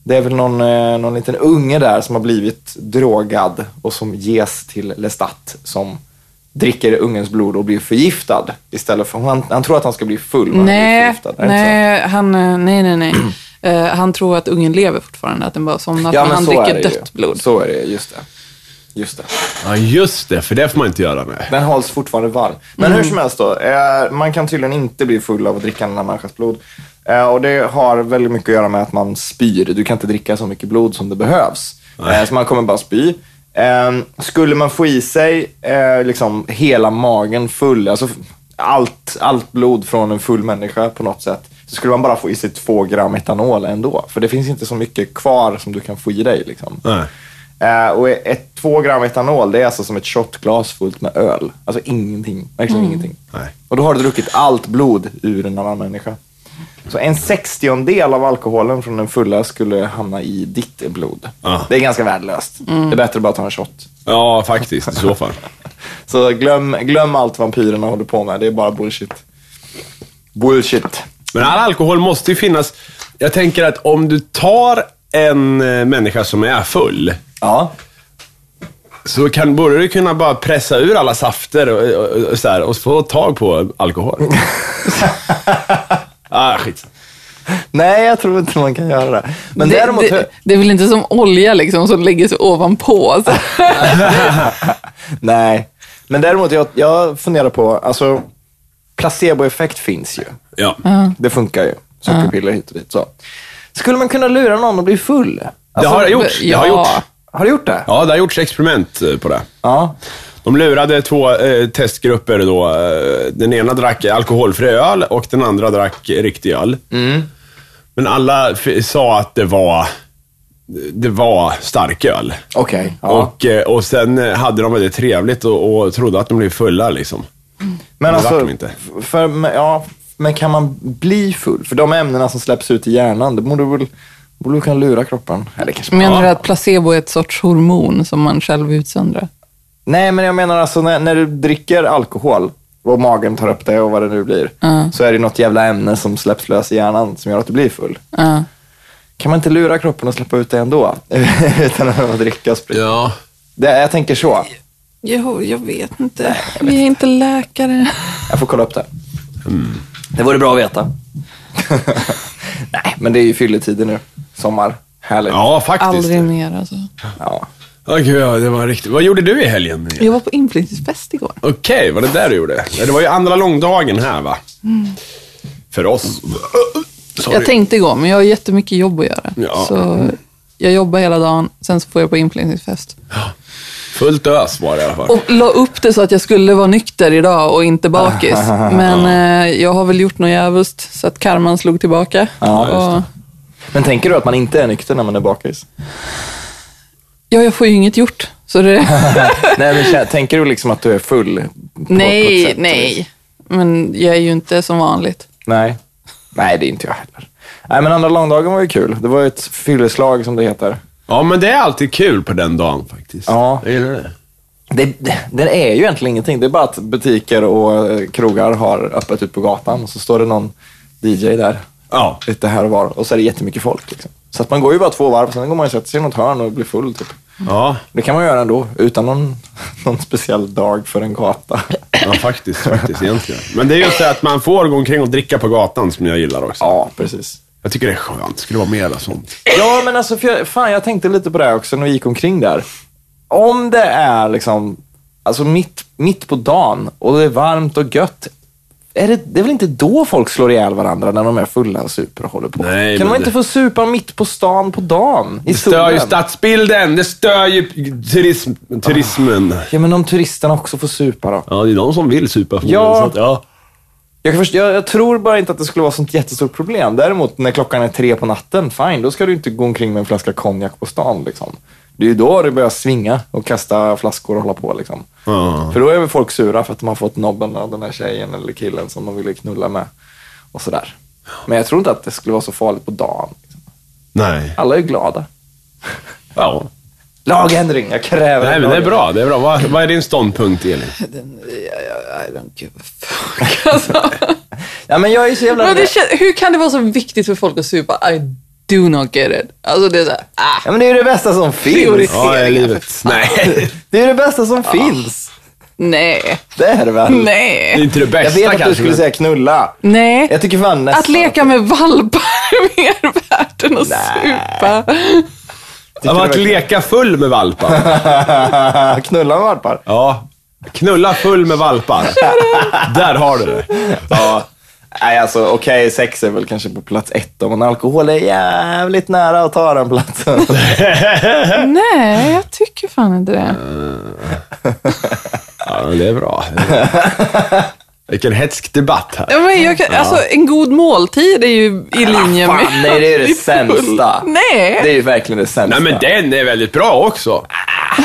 Speaker 3: Det är väl någon, eh, någon liten unge där som har blivit drogad och som ges till Lestat som dricker ungens blod och blir förgiftad istället för... Han, han tror att han ska bli full, men han blir
Speaker 2: Nej,
Speaker 3: förgiftad. Är det inte så?
Speaker 2: nej, han, eh, nej, nej,
Speaker 3: <clears throat>
Speaker 2: nej. Eh, han tror att ungen lever fortfarande, att den bara somnat, men han
Speaker 3: så är
Speaker 2: dricker
Speaker 3: det
Speaker 2: dött
Speaker 3: ju.
Speaker 2: blod.
Speaker 3: Så är det, just det. Just det.
Speaker 1: Ja, just det. För det får man inte göra med.
Speaker 3: Den hålls fortfarande varm. Men hur som helst då. Eh, man kan tydligen inte bli full av att dricka en annan människas blod. Eh, och det har väldigt mycket att göra med att man spyr. Du kan inte dricka så mycket blod som det behövs. Eh, så man kommer bara spy. Eh, skulle man få i sig eh, liksom hela magen full, alltså allt, allt blod från en full människa på något sätt, så skulle man bara få i sig två gram etanol ändå. För det finns inte så mycket kvar som du kan få i dig. Liksom.
Speaker 1: Nej.
Speaker 3: Eh, och ett, två gram etanol, det är alltså som ett shotglas fullt med öl. Alltså ingenting. Verkligen
Speaker 2: Mm.
Speaker 3: ingenting.
Speaker 1: Nej.
Speaker 3: Och då har du druckit allt blod ur en annan människa. Så en sextiondel av alkoholen från den fulla skulle hamna i ditt blod.
Speaker 1: Ah.
Speaker 3: Det är ganska värdelöst.
Speaker 2: Mm.
Speaker 3: Det är bättre att bara ta en shot.
Speaker 1: Ja, faktiskt. I så fall.
Speaker 3: Så glöm, glöm allt vampyrerna håller på med. Det är bara bullshit. Bullshit.
Speaker 1: Men all alkohol måste ju finnas. Jag tänker att om du tar en eh, människa som är full,
Speaker 3: Ja.
Speaker 1: så kan, borde du kunna bara pressa ur alla safter och, och, och, så här, och få tag på <laughs> alkohol. ah, skit.
Speaker 3: Nej, jag tror inte man kan göra det. Men
Speaker 2: det,
Speaker 3: däremot...
Speaker 2: det, det är väl inte som olja liksom, som lägger sig ovanpå? Så.
Speaker 3: Nej, men däremot jag, jag funderar på, alltså placeboeffekt finns ju.
Speaker 1: Ja.
Speaker 3: Det funkar ju. Sockerpiller hit och dit. Så. Skulle man kunna lura någon att bli full?
Speaker 1: Det
Speaker 3: Alltså,
Speaker 1: har jag gjort. Det har jag
Speaker 2: ja.
Speaker 1: gjort.
Speaker 3: har du gjort det?
Speaker 1: Ja, det har gjorts experiment eh, på det.
Speaker 3: Ja.
Speaker 1: De lurade två eh, testgrupper då. Eh, Den ena drack alkoholfri öl och den andra drack riktig öl. Men alla f- sa att det var, det var starköl.
Speaker 3: Okej. Ja.
Speaker 1: Och, eh, och sen eh, hade de väldigt trevligt och, och trodde att de blev fulla liksom.
Speaker 3: Men
Speaker 1: det vart
Speaker 3: alltså,
Speaker 1: de inte.
Speaker 3: f- För, men- ja, men kan man bli full? För de ämnena som släpps ut i hjärnan, det borde väl Borde du kunna lura kroppen? Eller kanske
Speaker 2: Menar du att placebo är ett sorts hormon som man själv utsöndrar?
Speaker 3: Nej, men jag menar alltså när, när du dricker alkohol och magen tar upp det och vad det nu blir,
Speaker 2: Ja.
Speaker 3: så är det något jävla ämne som släpps lös i hjärnan som gör att du blir full.
Speaker 2: Ja.
Speaker 3: Kan man inte lura kroppen att släppa ut det ändå? <laughs> Utan att behöva dricka sprit.
Speaker 1: Ja.
Speaker 3: Det, jag tänker så.
Speaker 2: Jo, jag vet inte. Vi är inte läkare.
Speaker 3: Jag får kolla upp det. Det vore bra att veta. <laughs> Nej, men det är ju fylletider nu. Sommar. Härligt.
Speaker 1: Ja, faktiskt.
Speaker 2: Aldrig mer alltså.
Speaker 3: Ja.
Speaker 1: Åh, gud, ja, det var riktigt. Vad gjorde du i helgen?
Speaker 2: Jag var på inflyttningsfest igår.
Speaker 1: Okej, var det där du gjorde? Ja, Det var ju andra långdagen här va? För oss. Sorry.
Speaker 2: Mm. Jag tänkte igår, men jag har jättemycket jobb att göra.
Speaker 1: Ja.
Speaker 2: Så jag jobbar hela dagen, sen så får jag på inflyttningsfest.
Speaker 1: Fullt ös var det i alla fall.
Speaker 2: Och la upp det så att jag skulle vara nykter idag och inte bakis. Men eh, jag har väl gjort något djävulskt så att karman slog tillbaka.
Speaker 3: Ja,
Speaker 2: och,
Speaker 3: Men tänker du att man inte är nykter när man är bakis? <laughs>
Speaker 2: ja, jag får ju inget gjort. Så det...
Speaker 3: Nej, men kä- tänker du liksom att du är full? på- på ett
Speaker 2: nej,
Speaker 3: sätt?
Speaker 2: nej. Men jag är ju inte som vanligt.
Speaker 3: Nej. Nej, det är inte jag heller. Nej, men andra långdagen var ju kul. Det var ju ett fylleslag som det heter.
Speaker 1: Ja, men det är alltid kul på den dagen faktiskt.
Speaker 3: Ja.
Speaker 1: Jag gillar det.
Speaker 3: Det, den är ju egentligen ingenting. Det är bara att butiker och eh, krogar har öppet ut på gatan och så står det någon DJ där
Speaker 1: Ja.
Speaker 3: lite här och var och så är det jättemycket folk. Liksom. Så att man går ju bara två varv, sen går man och sätter sig i något hörn och blir full. Typ.
Speaker 1: Ja,
Speaker 3: Det kan man göra ändå, utan någon, <laughs> någon speciell dag för en gata.
Speaker 1: ja faktiskt, faktiskt egentligen. Men det är just det att man får gå omkring och dricka på gatan som jag gillar också.
Speaker 3: Ja, precis.
Speaker 1: Jag tycker det är skönt. Det skulle vara mera sånt.
Speaker 3: Ja, men alltså, för jag, fan, jag tänkte lite på det här också när vi gick omkring där. Om det är liksom, alltså mitt, mitt på dagen och det är varmt och gött, är det, det är väl inte då folk slår ihjäl varandra när de är fulla och super och håller på?
Speaker 1: Nej,
Speaker 3: kan
Speaker 1: men
Speaker 3: man inte
Speaker 1: det-
Speaker 3: få supa mitt på stan på dagen? I
Speaker 1: Det stör ju
Speaker 3: solen?
Speaker 1: stadsbilden. Det stör ju turism, turismen.
Speaker 3: Ja, men om turisterna också får supa då?
Speaker 1: Ja, det är de som vill supa
Speaker 3: förmodligen, så att,
Speaker 1: ja.
Speaker 3: Jag, kan först, jag, jag tror bara inte att det skulle vara sånt jättestort problem. Däremot när klockan är tre på natten, fine, då ska du inte gå omkring med en flaska konjak på stan. Liksom. Det är ju då det börjar svinga och kasta flaskor och hålla på. Liksom.
Speaker 1: Ja.
Speaker 3: För då är väl folk sura för att de har fått nobben av den här tjejen eller killen som de ville knulla med. Och sådär. Men jag tror inte att det skulle vara så farligt på dagen. Liksom.
Speaker 1: Nej.
Speaker 3: Alla är ju glada.
Speaker 1: Ja.
Speaker 3: Lagändring, jag kräver
Speaker 1: Nej,
Speaker 3: en
Speaker 1: men det är
Speaker 3: lagändring.
Speaker 1: bra. Det är bra. Vad, vad är din ståndpunkt, Elin?
Speaker 2: I don't give a fuck. Alltså.
Speaker 3: Ja, men jag är ju så
Speaker 2: <laughs>
Speaker 3: jävla...
Speaker 2: Men det kän- hur kan det vara så viktigt för folk att supa? I do not get it. Alltså det är såhär, ah.
Speaker 3: ja, men det är ju det bästa som finns.
Speaker 2: Prioritering.
Speaker 1: Ja, det är livet. Nej,
Speaker 3: Det är ju det bästa som finns.
Speaker 2: Nej.
Speaker 3: Det är det väl?
Speaker 1: det är
Speaker 2: Nej.
Speaker 1: inte det
Speaker 3: Jag
Speaker 1: bästa
Speaker 3: vet att du
Speaker 1: kanske,
Speaker 3: skulle
Speaker 1: men-
Speaker 3: säga knulla.
Speaker 2: Nej.
Speaker 3: Jag tycker fan nästan
Speaker 2: Att leka med valpar <laughs> är mer värt än att supa.
Speaker 1: Ja, men att leka full med valpar.
Speaker 3: <laughs> Knulla med valpar.
Speaker 1: Ja. Knulla full med valpar. Där har du det.
Speaker 3: Ja. <laughs> Nej, alltså okej, sex är väl kanske på plats ett då, men alkohol är jävligt nära att ta den platsen.
Speaker 2: <laughs> Nej, jag tycker fan inte det.
Speaker 1: Ja, men det är bra. Det är bra. Vilken hetsk debatt här.
Speaker 2: Ja, Men jag kan, alltså, en god måltid är ju i linje med...
Speaker 3: Fan, nej, det är ju det
Speaker 2: att bli full.
Speaker 3: sämsta.
Speaker 2: <laughs> Nej.
Speaker 3: Det är ju verkligen det sämsta.
Speaker 1: Nej, men den är väldigt bra också.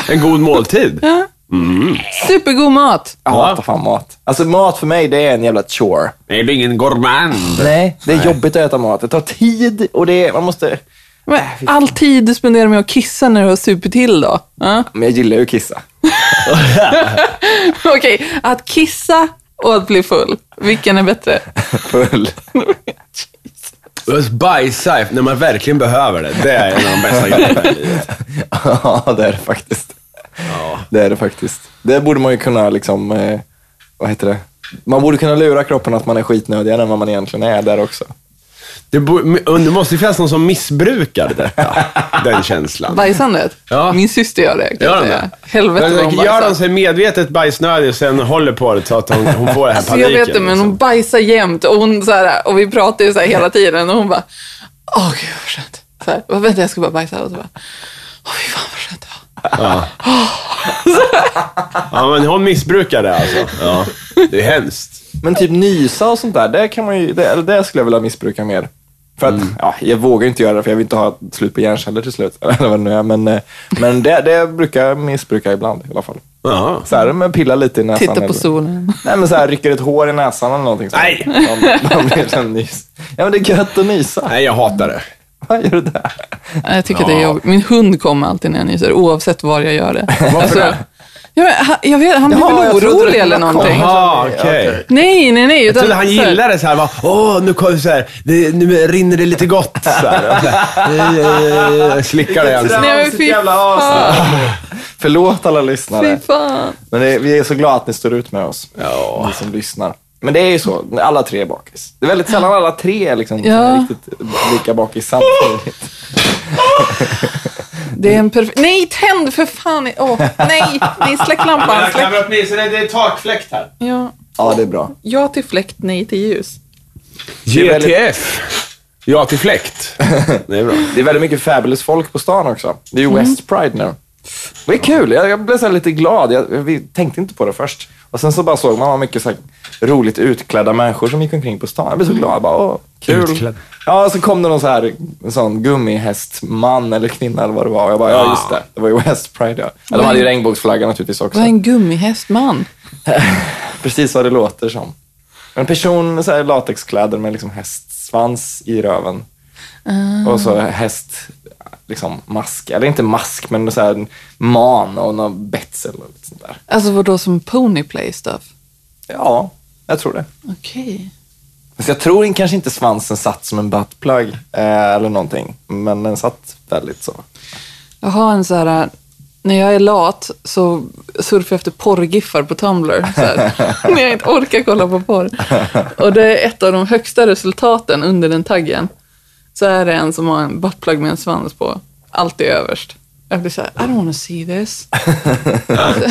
Speaker 1: En god måltid.
Speaker 2: Supergod mat.
Speaker 3: Jag hatar fan mat. Alltså mat för mig, det är en jävla chore.
Speaker 1: Nej, det är ingen gourmand.
Speaker 3: Nej, det är jobbigt att äta mat. Det tar tid och det är, man måste...
Speaker 2: Men all tid du spenderar med att kissa när du har supit till då? Ja.
Speaker 3: Men jag gillar ju att kissa. <laughs>
Speaker 2: <laughs> Okej, att kissa och att bli full. Vilken är bättre?
Speaker 3: Full.
Speaker 1: Just Bajsa när man verkligen behöver det. Det är en av de bästa grejerna i livet.
Speaker 3: <laughs> Ja, det är det faktiskt. Det är det faktiskt. Det borde man ju kunna liksom, eh, vad heter det? Man borde kunna lura kroppen att man är skitnödigare än vad man egentligen är där också.
Speaker 1: Det, bo- men det måste ju finnas någon som missbrukar detta. Den känslan.
Speaker 2: Bajsandet?
Speaker 1: Ja.
Speaker 2: Min syster gör det. Kan
Speaker 1: Gör
Speaker 2: jag
Speaker 1: hon
Speaker 2: säga.
Speaker 1: det?
Speaker 2: Helvete vad hon
Speaker 1: Gör
Speaker 2: bajsar.
Speaker 1: hon sig medvetet bajsnödig och sen håller på det så att hon, hon får den här
Speaker 2: Alltså, jag
Speaker 1: paniken?
Speaker 2: vet det, men
Speaker 1: liksom.
Speaker 2: hon bajsar jämt och, hon, så här, och vi pratar ju så här hela tiden och hon bara, åh gud vad skönt. Så här, "Vad- vänta jag ska bara bajsa och så bara, åh fy fan vad skönt det var.
Speaker 1: Ja, men hon missbrukar det alltså. Ja. Det är hemskt.
Speaker 3: Men typ nysa och sånt där, det, kan man ju, det, eller det skulle jag vilja missbruka mer. För att, ja, jag vågar ju inte göra det för jag vill inte ha ett slut på hjärnceller till slut. <laughs> Eller vad det nu är. Men, eh, men det, det brukar jag missbruka ibland i alla fall.
Speaker 1: Ja.
Speaker 3: Så här, men pilla lite i näsan.
Speaker 2: Titta på
Speaker 3: eller-
Speaker 2: solen.
Speaker 3: Nej, men så här, rycker ett hår i näsan eller någonting. Så här.
Speaker 1: Nej!
Speaker 3: Man, man blir så här nys. Ja, men det är gött att nysa.
Speaker 1: Nej, jag hatar det.
Speaker 3: Vad gör du där?
Speaker 2: Nej, Jag tycker att det är
Speaker 1: Ja.
Speaker 2: jobbigt. Min hund kommer alltid när jag nyser, oavsett var jag gör det.
Speaker 1: <laughs> Varför
Speaker 2: Alltså,
Speaker 1: det?
Speaker 2: Ja, men, han- jag vet, han blir
Speaker 3: Jaha,
Speaker 2: väl
Speaker 3: jag trodde
Speaker 2: orolig
Speaker 3: det
Speaker 2: eller
Speaker 3: var
Speaker 2: någonting.
Speaker 3: komma.
Speaker 1: Jaha,
Speaker 3: Okej,
Speaker 1: okej.
Speaker 3: okej.
Speaker 2: Nej, nej, nej.
Speaker 1: Jag
Speaker 2: utan
Speaker 1: trodde han
Speaker 2: så här-
Speaker 1: gillade så här, bara, åh, nu kom så här, det, nu rinner det lite gott. Så här, och så här, eh, slickar det i ansiktet.
Speaker 2: Nej, men
Speaker 4: Sitt
Speaker 2: fy
Speaker 4: jävla as.
Speaker 2: fan.
Speaker 3: Förlåt alla lyssnare.
Speaker 2: Fy fan.
Speaker 3: Men det, vi är så glada att ni står ut med oss.
Speaker 1: Ja.
Speaker 3: Ni som lyssnar. Men det är ju så, alla tre är bakis. Det är väldigt sällan alla tre är liksom
Speaker 2: Ja.
Speaker 3: är riktigt lika bakis samtidigt.
Speaker 2: Det är en perfekt... Nej, tänd för fan! Åh, nej, nej, släck lampan. Släck.
Speaker 1: upp ni, så det, är takfläkt här.
Speaker 2: Ja,
Speaker 3: Ja, det är bra.
Speaker 2: ja till fläkt, nej till ljus.
Speaker 1: GTF. Ja till fläkt. Det är bra.
Speaker 3: Det är väldigt mycket fabulous folk på stan också. Det är ju West Pride nu. Det är kul. Jag, jag blev så här lite glad. Jag, jag- vi tänkte inte på det först. Och sen så bara såg man vad mycket så här roligt utklädda människor som gick omkring på stan. Jag blev så glad. Jag bara, åh, kul.
Speaker 1: Utklädd.
Speaker 3: Ja, och så kom det någon så här en sån gummihästman eller kvinna eller vad det var. Och jag bara, ja just det. Det var ju West Pride ja. Ja, De hade ju regnbågsflagga naturligtvis också.
Speaker 2: Vad är en gummihästman?
Speaker 3: <clears throat> Precis vad det låter som. En person med så här latexkläder med liksom hästsvans i röven.
Speaker 2: Ah.
Speaker 3: Och så häst, liksom mask, eller inte mask, men så här en man och någon betsel och lite sånt där.
Speaker 2: Alltså vadå som pony play stuff?
Speaker 3: Ja, jag tror det.
Speaker 2: Okej.
Speaker 3: Fast jag tror in- kanske inte svansen satt som en buttplug eh, eller någonting, men den satt väldigt så.
Speaker 2: Jag har en så här, när jag är lat så surfar jag efter porrgiffar på Tumblr. Så här, <laughs> när jag inte orkar kolla på porr. Och det är ett av de högsta resultaten under den taggen. Så är det en som har en buttplug med en svans på. Alltid överst. Jag blir så här, I don't wanna see this.
Speaker 3: Jag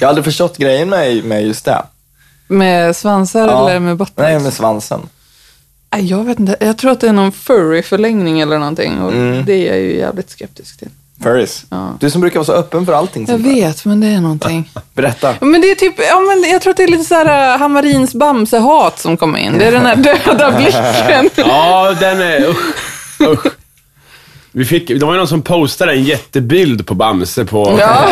Speaker 3: har aldrig förstått grejen med, med just det.
Speaker 2: Med svansar
Speaker 3: Ja.
Speaker 2: eller med buttplugs?
Speaker 3: Nej, med svansen.
Speaker 2: Nej, Jag vet inte. Jag tror att det är någon furry-förlängning eller någonting. Och
Speaker 1: Mm.
Speaker 2: det är jag ju jävligt skeptisk till.
Speaker 3: Furries.
Speaker 2: Ja.
Speaker 3: Du som brukar vara så öppen för allting.
Speaker 2: Jag
Speaker 3: sånt där.
Speaker 2: vet, men det är någonting.
Speaker 3: Berätta.
Speaker 2: Ja, Men det är typ, ja, men jag tror att det är lite så här äh, Hammarins Bamse-hat som kommer in. Det är den
Speaker 1: <laughs>
Speaker 2: här döda blicken.
Speaker 1: Ja, den är... Usch. usch. Vi fick, det var ju någon som postade en jättebild på Bamse på... <laughs>
Speaker 2: Ja,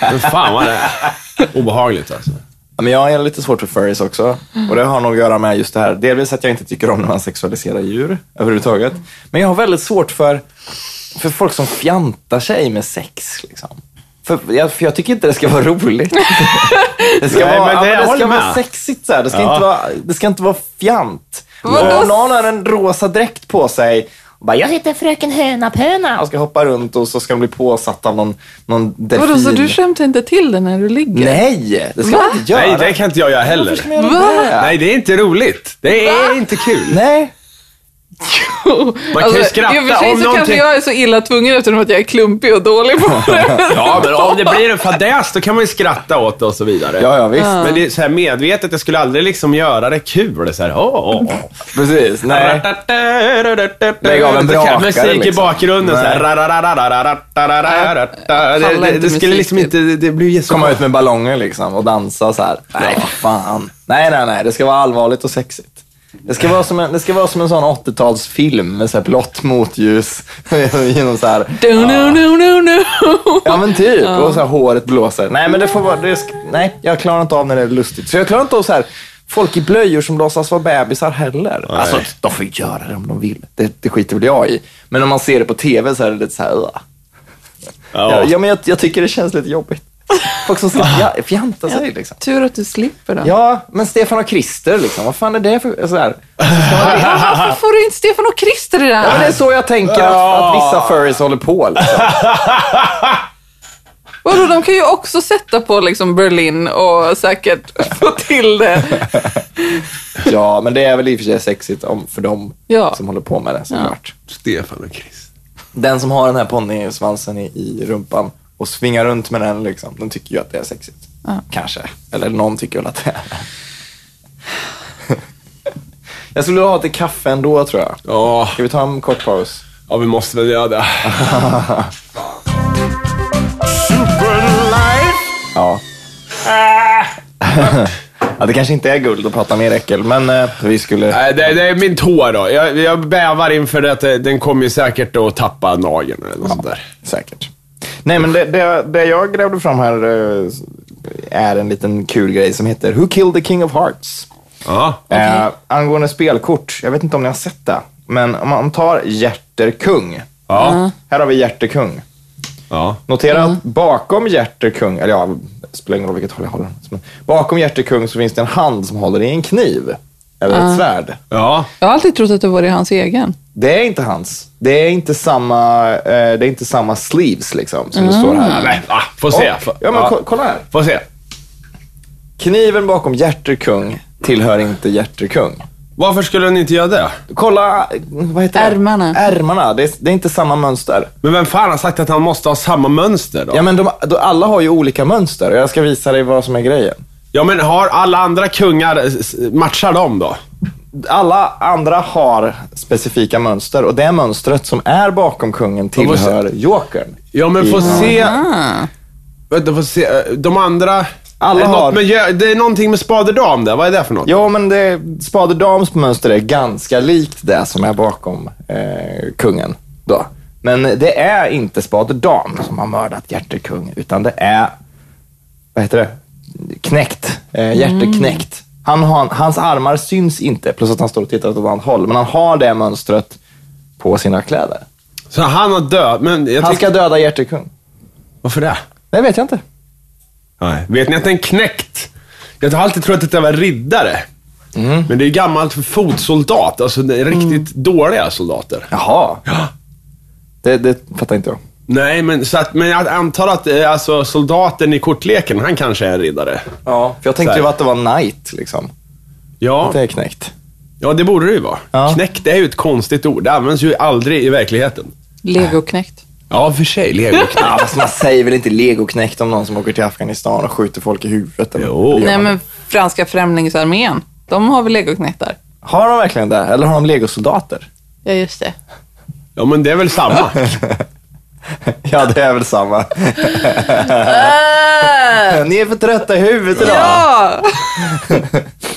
Speaker 1: Men fan vad det är. Obehagligt alltså.
Speaker 3: Ja, Men jag är lite svårt för furries också. Och det har nog att göra med just det här. Delvis att jag inte tycker om när man sexualiserar djur överhuvudtaget. Men jag har väldigt svårt för, för folk som fjantar sig med sex. Liksom. För, jag, för jag tycker inte det ska vara roligt.
Speaker 1: <laughs>
Speaker 3: Det ska,
Speaker 1: Nej,
Speaker 3: vara,
Speaker 1: men
Speaker 3: ja,
Speaker 1: det-
Speaker 3: men
Speaker 1: jag
Speaker 3: det
Speaker 1: håller
Speaker 3: ska vara
Speaker 1: med.
Speaker 3: sexigt. Så här. Det, ska
Speaker 1: Ja.
Speaker 3: inte vara, det ska inte vara fjant.
Speaker 2: Vadå?
Speaker 3: Om någon har en rosa dräkt på sig och bara, jag heter fröken Hönapöna och ska hoppa runt och så ska de bli påsatt av någon, någon delfin.
Speaker 2: vadå, så du skämtar inte till den när du ligger?
Speaker 3: Nej, det ska
Speaker 2: Va?
Speaker 3: man inte göra.
Speaker 1: Nej, det kan inte jag göra
Speaker 3: Varför
Speaker 1: heller.
Speaker 3: ska man göra
Speaker 2: Va?
Speaker 3: det?
Speaker 1: Nej, det är inte roligt. Det är inte kul.
Speaker 3: Nej.
Speaker 2: <laughs>
Speaker 1: Man kan ju skratta
Speaker 2: Alltså, I och för sig
Speaker 1: om
Speaker 2: så kanske
Speaker 1: någonting-
Speaker 2: jag är så illa tvungen eftersom att jag är klumpig och dålig på
Speaker 1: <laughs>
Speaker 2: det. <laughs>
Speaker 1: Ja, men om det blir en fadäs, då kan man ju skratta åt det och så vidare.
Speaker 3: Ja, ja visst.
Speaker 1: Men det är så här medvetet, jag skulle aldrig liksom göra det kul. Så här, åh, åh, åh.
Speaker 3: Precis. Nej.
Speaker 1: Lägg
Speaker 3: av en brakare,
Speaker 1: Musik i
Speaker 3: liksom.
Speaker 1: bakgrunden
Speaker 3: Nej.
Speaker 1: såhär. Det,
Speaker 2: pallar
Speaker 1: det,
Speaker 2: inte
Speaker 1: det skulle liksom inte,
Speaker 2: musiken.
Speaker 1: det det blir ju så...
Speaker 3: Komma ut med ballonger liksom och dansa så här. Nej, vad fan. Nej, nej, nej. Det ska vara allvarligt och sexigt. Det ska vara som en, det ska vara som en sån 80-talsfilm med så här blått motljus. <laughs> genom så här.
Speaker 2: Do, no, no, no, no.
Speaker 3: Ja, men typ. Och så här, håret blåser. Nej, men det får vara... Det sk- nej, jag klarar inte av när det är lustigt. Så jag klarar inte av så här, folk i blöjor som låtsas vara bebisar heller. Alltså, de får ju göra det om de vill. Det, det skiter väl jag i. Men om man ser det på tv så är det lite så här... "Ugh." Ja,
Speaker 1: Ja.
Speaker 3: ja, men jag, jag tycker det känns
Speaker 2: <laughs>
Speaker 3: lite jobbigt. Folk som ska fja- fjanta sig liksom.
Speaker 2: <laughs> Tur att du slipper den.
Speaker 3: Ja, men Stefan och Christer liksom. Vad fan är det för... Så här.
Speaker 2: Varför får du inte Stefan och Christer i det
Speaker 3: Ja, men
Speaker 1: <laughs>
Speaker 2: här?
Speaker 3: det är så jag tänker att, att vissa furries håller på. Liksom.
Speaker 2: <laughs> Vadå, de kan ju också sätta på liksom Berlin och säkert <laughs> få till det.
Speaker 3: Ja, men det är väl i och för sig sexigt om, för dem
Speaker 2: Ja.
Speaker 3: som håller på med det såklart.
Speaker 1: Stefan och Chris.
Speaker 3: Den som har den här ponnysvansen i, i rumpan och svingar runt med den, liksom, den tycker ju att det är sexigt. Kanske. Eller någon tycker väl att det är <laughs> Jag skulle vilja ha till kaffe ändå, tror jag.
Speaker 1: Ja,
Speaker 3: Ska vi ta en kort paus?
Speaker 1: ja, vi måste väl göra det.
Speaker 3: Ja. <laughs> ja, det kanske inte är guld att prata mer äckel, men eh, vi skulle...
Speaker 1: Nej, det, det är min tå då. Jag, jag bävar inför det att det- den kommer ju säkert att tappa nageln eller något sånt där.
Speaker 3: Säkert. Nej, men det, det, det jag grävde fram här eh, är en liten kul grej som heter Who Killed the King of Hearts?
Speaker 1: Ja.
Speaker 3: Eh, angående spelkort, jag vet inte om ni har sett det. Men om man tar Hjärterkung.
Speaker 1: Ja.
Speaker 3: Här har vi Hjärterkung.
Speaker 1: ja.
Speaker 3: Notera att bakom Hjärterkung, eller ja, det spelar ingen roll vilket håll jag håller. den. Men bakom Hjärterkung så finns det en hand som håller i en kniv. Eller ett svärd.
Speaker 1: Ja.
Speaker 2: Jag har alltid trott att det var det hans egen.
Speaker 3: Det är inte hans. Det är inte samma, eh, det är inte samma sleeves liksom, som det står här.
Speaker 1: Mm. Nej, va? Får se.
Speaker 3: Och- ja, men ko- kolla här.
Speaker 1: Får se.
Speaker 3: Kniven bakom Hjärterkung tillhör inte Hjärterkung.
Speaker 1: Varför skulle den inte göra det?
Speaker 3: Kolla, eh, vad heter det?
Speaker 2: Ärmarna.
Speaker 3: Ärmarna. Det är, det är inte samma mönster.
Speaker 1: Men vem fan har sagt att han måste ha samma mönster då?
Speaker 3: Ja, men de, de, alla har ju olika mönster och jag ska visa dig vad som är grejen.
Speaker 1: Ja, men har alla andra kungar, eh, s- matchar de då?
Speaker 3: Alla andra har specifika mönster och det mönstret som är bakom kungen
Speaker 1: måste-
Speaker 3: tillhör jokern.
Speaker 1: Ja, men få se.
Speaker 2: Ah.
Speaker 1: Vänta, få se. eh, De andra...
Speaker 3: Alla
Speaker 1: är det något
Speaker 3: har-
Speaker 1: Med, gö- det är någonting med spade-dam där. Vad är det för något?
Speaker 3: Ja, men det, spade dams mönster är ganska likt det som är bakom eh, kungen. Då. Men det är inte spade dam som har mördat hjärtekung, utan det är, vad heter det, knäckt. Eh, hjärteknäckt. Han har, hans armar syns inte, plus att han står och tittar åt ett annat håll. Men han har det mönstret på sina kläder.
Speaker 1: Så han har död. Men jag
Speaker 3: Han
Speaker 1: tycker...
Speaker 3: ska döda hjärtekung.
Speaker 1: Varför det?
Speaker 3: Det vet jag inte.
Speaker 1: Nej. Vet ni att den knäckt? Jag har alltid trott att det var riddare. Men det är gammalt för fotsoldat. Alltså det är riktigt dåliga soldater.
Speaker 3: Jaha. Det, det fattar inte jag.
Speaker 1: Nej, men, så att, men jag antar att eh, alltså, soldaten i kortleken, han kanske är en riddare.
Speaker 3: Ja, för jag tänkte
Speaker 1: Så
Speaker 3: ju
Speaker 1: här.
Speaker 3: att det var knight, liksom.
Speaker 1: Ja,
Speaker 3: Det är knäckt.
Speaker 1: ja det borde det ju vara.
Speaker 3: Ja.
Speaker 1: Knäckt är ju ett konstigt ord. Det används ju aldrig i verkligheten.
Speaker 2: Legoknäckt.
Speaker 1: Ja, för sig. Legoknäckt.
Speaker 3: Ja, fast man säger väl inte legoknäckt om någon som åker till Afghanistan och skjuter folk i huvudet? Eller?
Speaker 1: Jo.
Speaker 2: Nej, men franska främlingsarmén. De har väl legoknektar?
Speaker 3: Har de verkligen det? Eller har de legosoldater? <laughs>
Speaker 2: Ja, just det.
Speaker 1: <laughs> Ja, men det är väl samma.
Speaker 3: Ja, det är väl samma. Ni är för trötta i huvudet idag.
Speaker 2: Äh! ja!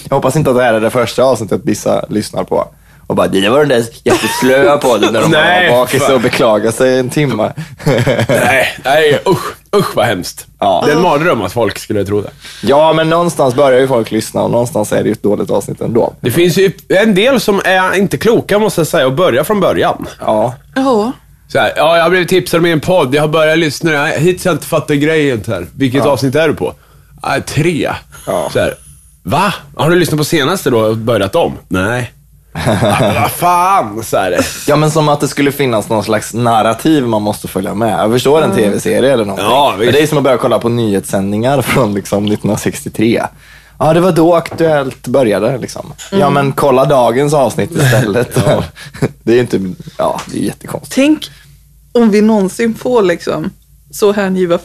Speaker 3: Jag hoppas inte att det här är det första avsnittet vissa lyssnar på. Och bara, det var den där jätteslöa podden när de
Speaker 1: Nej,
Speaker 3: var bakis
Speaker 1: fan.
Speaker 3: och beklagade sig en timme.
Speaker 1: nej, nej, usch. Usch vad hemskt.
Speaker 3: Ja.
Speaker 1: Det är en mardröm att folk skulle tro det.
Speaker 3: <laughs> ja, men någonstans börjar ju folk lyssna och någonstans är det ju ett dåligt avsnitt ändå.
Speaker 1: Det finns ju en del som är inte kloka, måste jag säga, och börja från början.
Speaker 3: Ja,
Speaker 2: Ja.
Speaker 1: Så här, ja, jag har blivit tipsad om en podd, jag har börjat lyssna, jag har hittills har jag inte fattat grejen. Så här. Vilket avsnitt är du på? "Ah, tre.
Speaker 3: Ja.
Speaker 1: Så här, va? Har du lyssnat på senaste då och börjat om? Nej. "Ah, men Vad fan, så här.
Speaker 3: Ja, men som att det skulle finnas någon slags narrativ man måste följa med. Jag förstår en tv-serie eller någonting.
Speaker 1: Ja,
Speaker 3: men
Speaker 1: visst.
Speaker 3: det är som att börja kolla på nyhetssändningar från liksom 1963. Ja, det var då Aktuellt började. Liksom. Ja, men kolla dagens
Speaker 1: <laughs>
Speaker 3: avsnitt istället. <laughs> Det är ju inte... Ja, det är jättekonstigt.
Speaker 2: Tänk om vi någonsin får liksom så hängiva,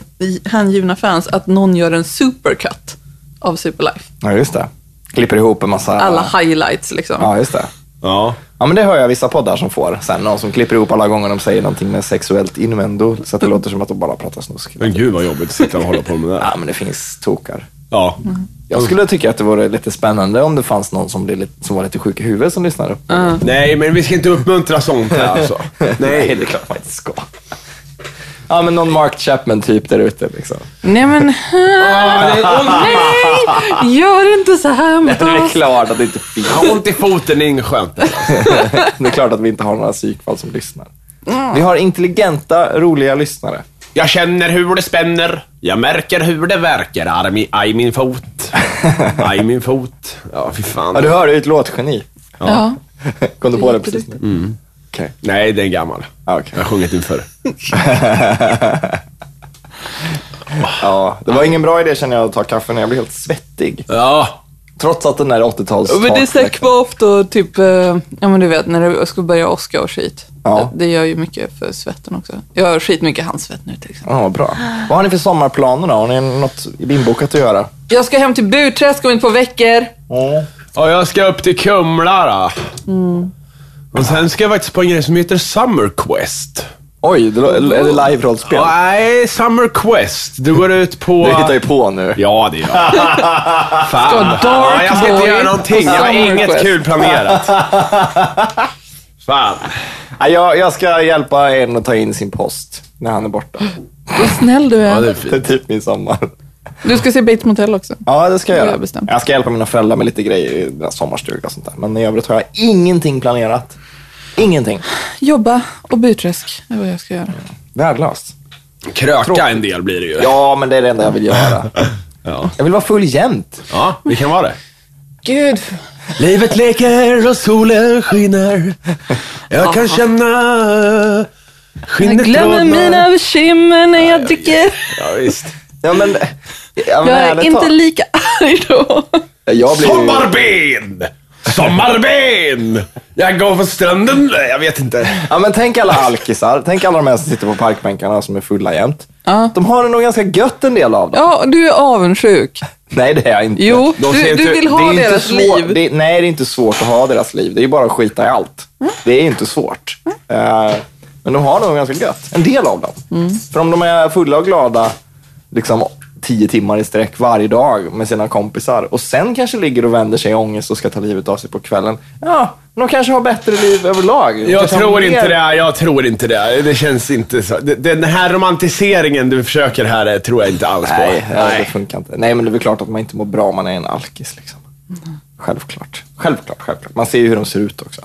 Speaker 2: hängivna fans att någon gör en supercut av Superlife.
Speaker 3: Ja, just det. Klipper ihop en massa...
Speaker 2: Alla highlights liksom.
Speaker 3: Ja, just det.
Speaker 1: Ja.
Speaker 3: Ja, men det hör jag vissa poddar som får. Sen någon som klipper ihop alla gånger de säger någonting med sexuellt innuendo. Så att det låter som att de bara pratar snusk.
Speaker 1: Men gud vad jobbigt att sitta och hålla på med det där.
Speaker 3: Ja, men det finns tokar.
Speaker 1: Ja.
Speaker 3: Jag skulle tycka att det vore lite spännande om det fanns någon som, blev lite, som var lite sjuk i huvudet som lyssnade.
Speaker 1: Nej, men vi ska inte uppmuntra sånt här alltså.
Speaker 3: <laughs> Nej, det är klart man inte ska. Ja, men någon Mark Chapman-typ där ute liksom.
Speaker 2: Nej men,
Speaker 1: Ah, det är ont.
Speaker 2: <laughs> nej! Gör inte så här mot
Speaker 3: Det är
Speaker 2: oss.
Speaker 3: klart att det inte finns.
Speaker 1: Jag har ont i foten, det är inget skönt.
Speaker 3: <laughs> Det är klart att vi inte har några psykfall som lyssnar. Vi har intelligenta, roliga lyssnare.
Speaker 1: Jag känner hur det spänner. Jag märker hur det verkar. Arm i, aj min fot. Aj min fot. Ja, fy fan.
Speaker 3: Ja, du hör, det är ett låtgeni. <laughs>
Speaker 2: Ja.
Speaker 3: Kom du på det precis nu? Okej.
Speaker 1: Nej, det är en gammal.
Speaker 3: Ja, okej.
Speaker 1: Jag har sjungit den förr.
Speaker 3: Ja, det var ingen bra idé känner jag att ta kaffe när jag blir helt svettig.
Speaker 1: Ja.
Speaker 3: Trots att den där 80-tals...
Speaker 2: Men det är så här kvavt och typ, eh, ja men du vet när det ska börja åska och skit.
Speaker 3: Ja.
Speaker 2: Det gör ju mycket för svetten också. Jag har skitmycket handsvett nu till exempel.
Speaker 3: Ja, vad bra. Vad har ni för sommarplaner då? Har ni något inbokat att göra?
Speaker 2: Jag ska hem till Burträsk om ett par veckor.
Speaker 1: Och jag ska upp till Kumla då. Och sen ska jag faktiskt på en grej som heter Summer Quest.
Speaker 3: Oj, det, lå- är det live-rollspel?
Speaker 1: äh, Nej, Summer Quest. Du går ut på...
Speaker 3: Du hittar ju på nu.
Speaker 1: Ja, det gör jag. Fan.
Speaker 2: Ska Dark
Speaker 1: ja, jag ska inte
Speaker 2: Boy
Speaker 1: göra någonting. Jag har
Speaker 2: Summer
Speaker 1: inget
Speaker 2: Quest.
Speaker 1: kul planerat. Fan.
Speaker 3: Ja, Jag, jag ska hjälpa en att ta in sin post när han är borta.
Speaker 2: Vad snäll du
Speaker 1: Ja, det
Speaker 2: är.
Speaker 1: är fint.
Speaker 3: <laughs> Det är typ min sommar.
Speaker 2: Du ska se Bates Motel också.
Speaker 3: Ja, det ska jag
Speaker 2: Det har jag
Speaker 3: göra.
Speaker 2: bestämt.
Speaker 3: Jag ska hjälpa mina föräldrar med lite grejer i deras sommarstuga och sånt där. Men i övrigt har jag ingenting planerat. Ingenting.
Speaker 2: Jobba och byträsk är vad jag ska göra.
Speaker 3: Värdelöst.
Speaker 1: Kröka en del blir det ju.
Speaker 3: Ja, men det är det enda jag vill göra.
Speaker 1: Ja,
Speaker 3: Jag vill vara full jämt.
Speaker 1: ja vi kan vara det.
Speaker 2: Gud.
Speaker 1: Livet leker och solen skiner. Jag kan känna
Speaker 2: Jag
Speaker 1: skinnet
Speaker 2: glömmer
Speaker 1: rodna.
Speaker 2: mina bekymmer när jag dricker.
Speaker 1: Ja, visst.
Speaker 3: Ja, men, ja,
Speaker 2: Jag
Speaker 3: men
Speaker 2: är
Speaker 3: ärligt
Speaker 2: inte
Speaker 3: talat.
Speaker 2: lika arg då.
Speaker 3: Jag blir ju...
Speaker 1: Sommarben! Sommarben! Jag går på stranden. Nej, Jag vet inte.
Speaker 3: Ja, men tänk alla alkisar. Tänk alla de här som sitter på parkbänkarna som är fulla jämt.
Speaker 2: Ja.
Speaker 3: De har det nog ganska gött en del av dem.
Speaker 2: Ja, du är avundsjuk.
Speaker 3: Nej, det är jag inte.
Speaker 2: Jo,
Speaker 1: De
Speaker 2: du,
Speaker 1: ser
Speaker 2: du
Speaker 1: inte-
Speaker 2: vill
Speaker 3: Det
Speaker 2: ha
Speaker 3: är inte
Speaker 2: deras
Speaker 3: svår-
Speaker 2: liv.
Speaker 3: Det, nej, det är inte svårt att ha deras liv. Det är bara att skita i allt. Det är inte svårt. Eh, men de har det nog ganska gött. En del av dem.
Speaker 2: Mm.
Speaker 3: För om de är fulla och glada liksom tio timmar i sträck varje dag med sina kompisar och sen kanske ligger och vänder sig i ångest och ska ta livet av sig på kvällen. Ja, de kanske har bättre liv överlag. De
Speaker 1: Jag
Speaker 3: kanske har
Speaker 1: tror inte
Speaker 3: mer-
Speaker 1: det. Jag tror inte det. Det känns inte så. Det- Den här romantiseringen du försöker här eh, tror jag inte alls på.
Speaker 3: Nej, ja, det funkar inte. Nej, men det är väl klart att man inte mår bra om man är en alkis. Liksom.
Speaker 2: Mm.
Speaker 3: Självklart. Självklart, självklart. Man ser ju hur de ser ut också.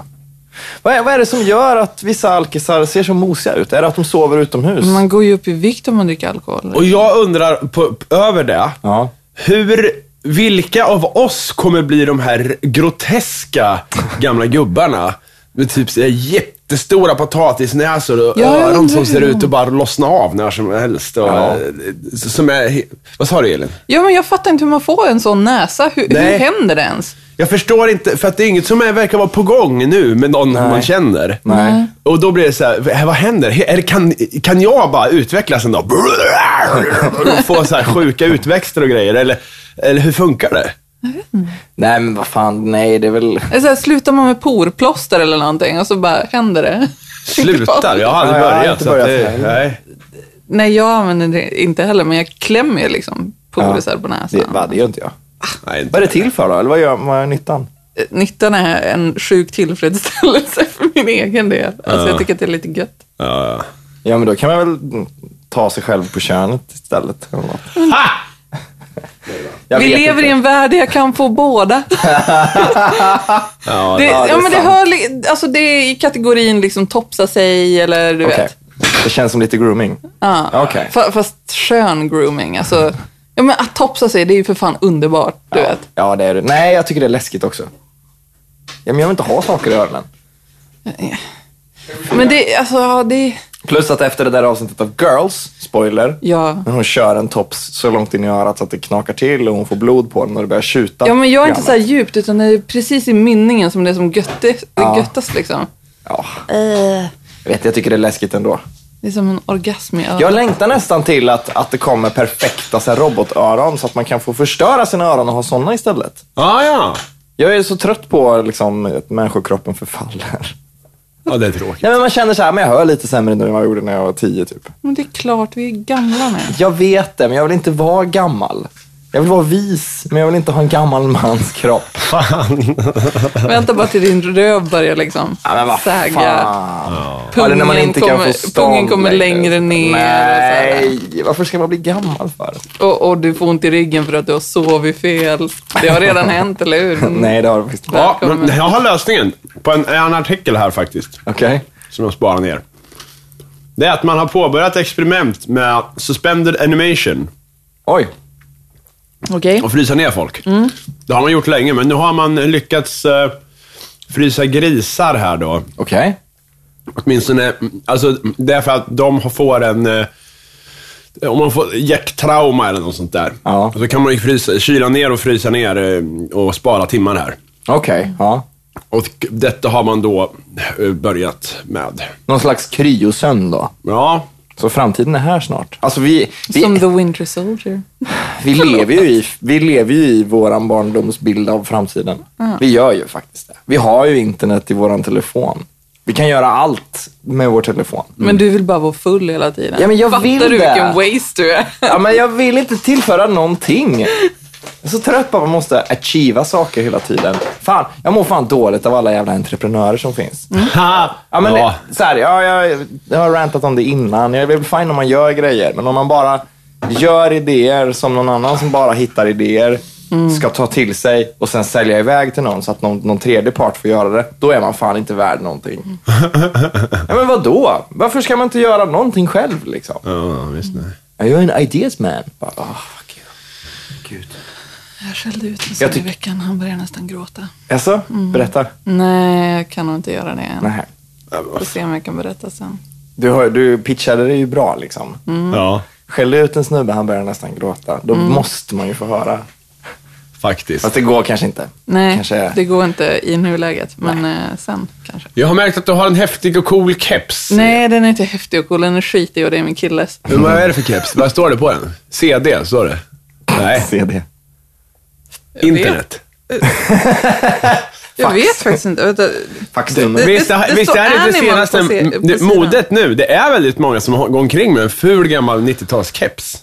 Speaker 3: Vad är, vad är det som gör att vissa alkisar ser så mosiga ut? Är det att de sover utomhus?
Speaker 2: Man går ju upp i vikt om man dricker alkohol.
Speaker 1: Och jag undrar på, över det.
Speaker 3: Ja.
Speaker 1: Hur, vilka av oss kommer bli de här groteska gamla gubbarna? Med typ så här jättestora potatisnäsor och
Speaker 2: Ja, jag
Speaker 1: öron
Speaker 2: undrar
Speaker 1: som ser
Speaker 2: hur
Speaker 1: ut att bara lossna av när som helst. Och,
Speaker 3: Ja.
Speaker 1: eh, som är, he- vad sa du Elin?
Speaker 2: Ja, men jag fattar inte hur man får en sån näsa. Hur, hur
Speaker 1: Nej.
Speaker 2: händer det ens?
Speaker 1: Jag förstår inte, för att det är inget som är, verkar vara på gång nu med någon
Speaker 3: Nej.
Speaker 1: man känner.
Speaker 3: Nej.
Speaker 1: Och då blir det så här, "Vad- vad händer? He- Eller kan, kan jag bara utvecklas en
Speaker 3: <laughs>
Speaker 1: dag? Och Få så här sjuka utväxter och grejer. Eller, eller hur funkar det?
Speaker 3: Nej, men vad fan. Nej, det är väl...
Speaker 2: Eller så här, Alltså, slutar man med porplåster eller någonting och så bara händer det.
Speaker 1: Slutar? Jag har aldrig
Speaker 3: Ja, jag har
Speaker 1: börjat.
Speaker 3: inte
Speaker 1: så att
Speaker 3: börjat
Speaker 1: det,
Speaker 3: heller.
Speaker 1: nej.
Speaker 2: Nej, jag använder det inte heller, men jag klämmer ju liksom polisar på
Speaker 3: Det,
Speaker 2: näsan.
Speaker 3: va, det gör inte jag.
Speaker 1: Nej, inte.
Speaker 3: Vad är det till för då? Eller vad, gör, vad är nyttan?
Speaker 2: Eh, Nyttan är en sjuk tillfredsställelse <laughs> för min egen del. Alltså, jag tycker att det är lite gött.
Speaker 1: Ja, ja.
Speaker 3: Ja, men då kan man väl mm, ta sig själv på könet istället. eller något.
Speaker 1: Ha!
Speaker 3: Jag
Speaker 2: Vi
Speaker 3: vet
Speaker 2: lever
Speaker 3: inte.
Speaker 2: i en värld där jag kan få båda.
Speaker 1: Ja,
Speaker 2: Det, ja,
Speaker 3: ja, det är
Speaker 2: men det,
Speaker 3: sant.
Speaker 2: hör, li- alltså, det är i kategorin liksom topsa sig eller du
Speaker 3: Okej.
Speaker 2: vet.
Speaker 3: Det känns som lite grooming.
Speaker 2: Ja.
Speaker 3: Okej.
Speaker 2: Fa- Fast skön grooming. Alltså, ja, men att topsa sig, det är ju för fan underbart. Du vet.
Speaker 3: Ja, det är det. Nej, jag tycker det är läskigt också. Ja, men jag vill inte ha saker i öronen.
Speaker 2: Men det, alltså, ja, det,
Speaker 3: Plus att efter det där avsnittet av Girls, spoiler,
Speaker 2: Ja.
Speaker 3: när hon kör en tops så långt in i örat så att det knakar till och hon får blod på den och det börjar tjuta.
Speaker 2: ja, men jag är inte
Speaker 3: Grann.
Speaker 2: så här djupt, utan det är precis i mynningen som det är som göttis, göttast. Liksom.
Speaker 3: Ja. Jag vet, jag tycker det är läskigt ändå.
Speaker 2: Det är som en orgasm i örat.
Speaker 3: Jag längtar nästan till att, att det kommer perfekta så här, robotöron så att man kan få förstöra sina öron och ha sådana istället.
Speaker 1: ja, ja.
Speaker 3: Jag är så trött på liksom, att människokroppen förfaller.
Speaker 1: Ja, det är tråkigt.
Speaker 3: Ja, men man känner så här, men jag hör lite sämre nu än vad jag gjorde när jag var tio typ.
Speaker 2: Men det är klart, vi är gamla
Speaker 3: <laughs>
Speaker 2: nu.
Speaker 3: Jag vet det, men jag vill inte vara gammal. Jag vill vara vis, men jag vill inte ha en gammal mans kropp.
Speaker 1: Fan.
Speaker 2: Vänta bara till din röv börjar liksom säga.
Speaker 3: Ja, det är när man
Speaker 2: Pungen
Speaker 3: inte kan
Speaker 2: kommer-
Speaker 3: få stånd
Speaker 2: pungen kommer längre ner och så här.
Speaker 3: Nej, varför ska man bli gammal för?
Speaker 2: Och, och du får ont i ryggen för att du har sovit fel. Det har redan hänt, eller hur?
Speaker 3: Nej, det har du visst inte.
Speaker 1: Ja, men jag har lösningen på en, en artikel här faktiskt,
Speaker 3: Okej.
Speaker 1: som jag sparar ner. Det är att man har påbörjat experiment med suspended animation
Speaker 3: Oj.
Speaker 2: Okej.
Speaker 1: och frysa ner folk.
Speaker 3: Mm.
Speaker 1: Det har man gjort länge, men nu har man lyckats eh, frysa grisar här då.
Speaker 3: Okej.
Speaker 1: Åtminstone, alltså det är för att de får en... eh, Om man får hjärttrauma eller något sånt där.
Speaker 3: Ja.
Speaker 1: Så kan man ju frysa, kyla ner och frysa ner eh, och spara timmar här.
Speaker 3: Okej, ja.
Speaker 1: Och detta har man då eh, börjat med.
Speaker 3: Någon slags kryosömn då.
Speaker 1: Ja,
Speaker 3: Så framtiden är här snart. Alltså vi,
Speaker 2: Som
Speaker 3: vi,
Speaker 2: The Winter Soldier.
Speaker 3: vi, lever, ju i, vi lever ju i våran barndomsbild av framtiden. Vi gör ju faktiskt det. Vi har ju internet i våran telefon. Vi kan göra allt med vår telefon.
Speaker 2: Men du vill bara vara full hela tiden.
Speaker 3: Mm. Ja, men jag
Speaker 2: Fattar
Speaker 3: vill
Speaker 2: du
Speaker 3: det.
Speaker 2: vilken waste du är?
Speaker 3: Ja, men jag vill inte tillföra någonting. Jag är så trött på att man måste achieva saker hela tiden. Fan, jag mår fan dåligt av alla jävla entreprenörer som finns.
Speaker 1: Ha!
Speaker 3: <laughs> Ja, men
Speaker 1: ja.
Speaker 3: Så här, ja, jag, jag har rantat om det innan. Jag är väl fine om man gör grejer, men om man bara gör idéer som någon annan som bara hittar idéer ska ta till sig och sen sälja iväg till någon så att någon, någon tredje part får göra det, då är man fan inte värd någonting. ja, men vad då? Varför ska man inte göra någonting själv liksom?
Speaker 1: Ja, visst nej.
Speaker 3: Ja, Jag är en ideas man. Bara, "Ah, åh, gud. gud.
Speaker 2: Jag skällde ut en
Speaker 3: Jag
Speaker 2: sån i
Speaker 3: tyck-
Speaker 2: veckan. Han började nästan gråta.
Speaker 3: Jaså? Berätta.
Speaker 2: Nej, jag kan nog inte göra det än.
Speaker 3: Nej.
Speaker 1: Ja, men vad
Speaker 2: Får se om jag kan berätta sen.
Speaker 3: Du, har, du pitchade det ju bra liksom.
Speaker 1: fan. Ja,
Speaker 3: Skällde ut en snubbe, han började nästan gråta. Då måste man ju få höra.
Speaker 1: faktiskt.
Speaker 3: Fast det går kanske inte.
Speaker 2: Nej,
Speaker 3: Kanske...
Speaker 2: det går inte i nuläget. Men eh, sen kanske.
Speaker 1: Jag har märkt att du har en häftig och cool keps.
Speaker 2: Nej, den är inte häftig och cool. Den är skitig och det är min killes.
Speaker 1: Men vad är det för keps? Vad står det på den? CD, står
Speaker 3: <laughs>
Speaker 1: det? Nej,
Speaker 3: Se det.
Speaker 1: internet.
Speaker 2: Jag vet faktiskt inte. Vänta.
Speaker 3: Faxnummer.
Speaker 2: Det-
Speaker 1: Visst, det,
Speaker 2: det
Speaker 1: visst
Speaker 2: står
Speaker 1: är det det
Speaker 2: animal
Speaker 1: senaste
Speaker 2: på se- på
Speaker 1: det,
Speaker 2: sidan.
Speaker 1: modet nu? Det är väldigt många som har- går omkring med en ful gammal 90-talskeps.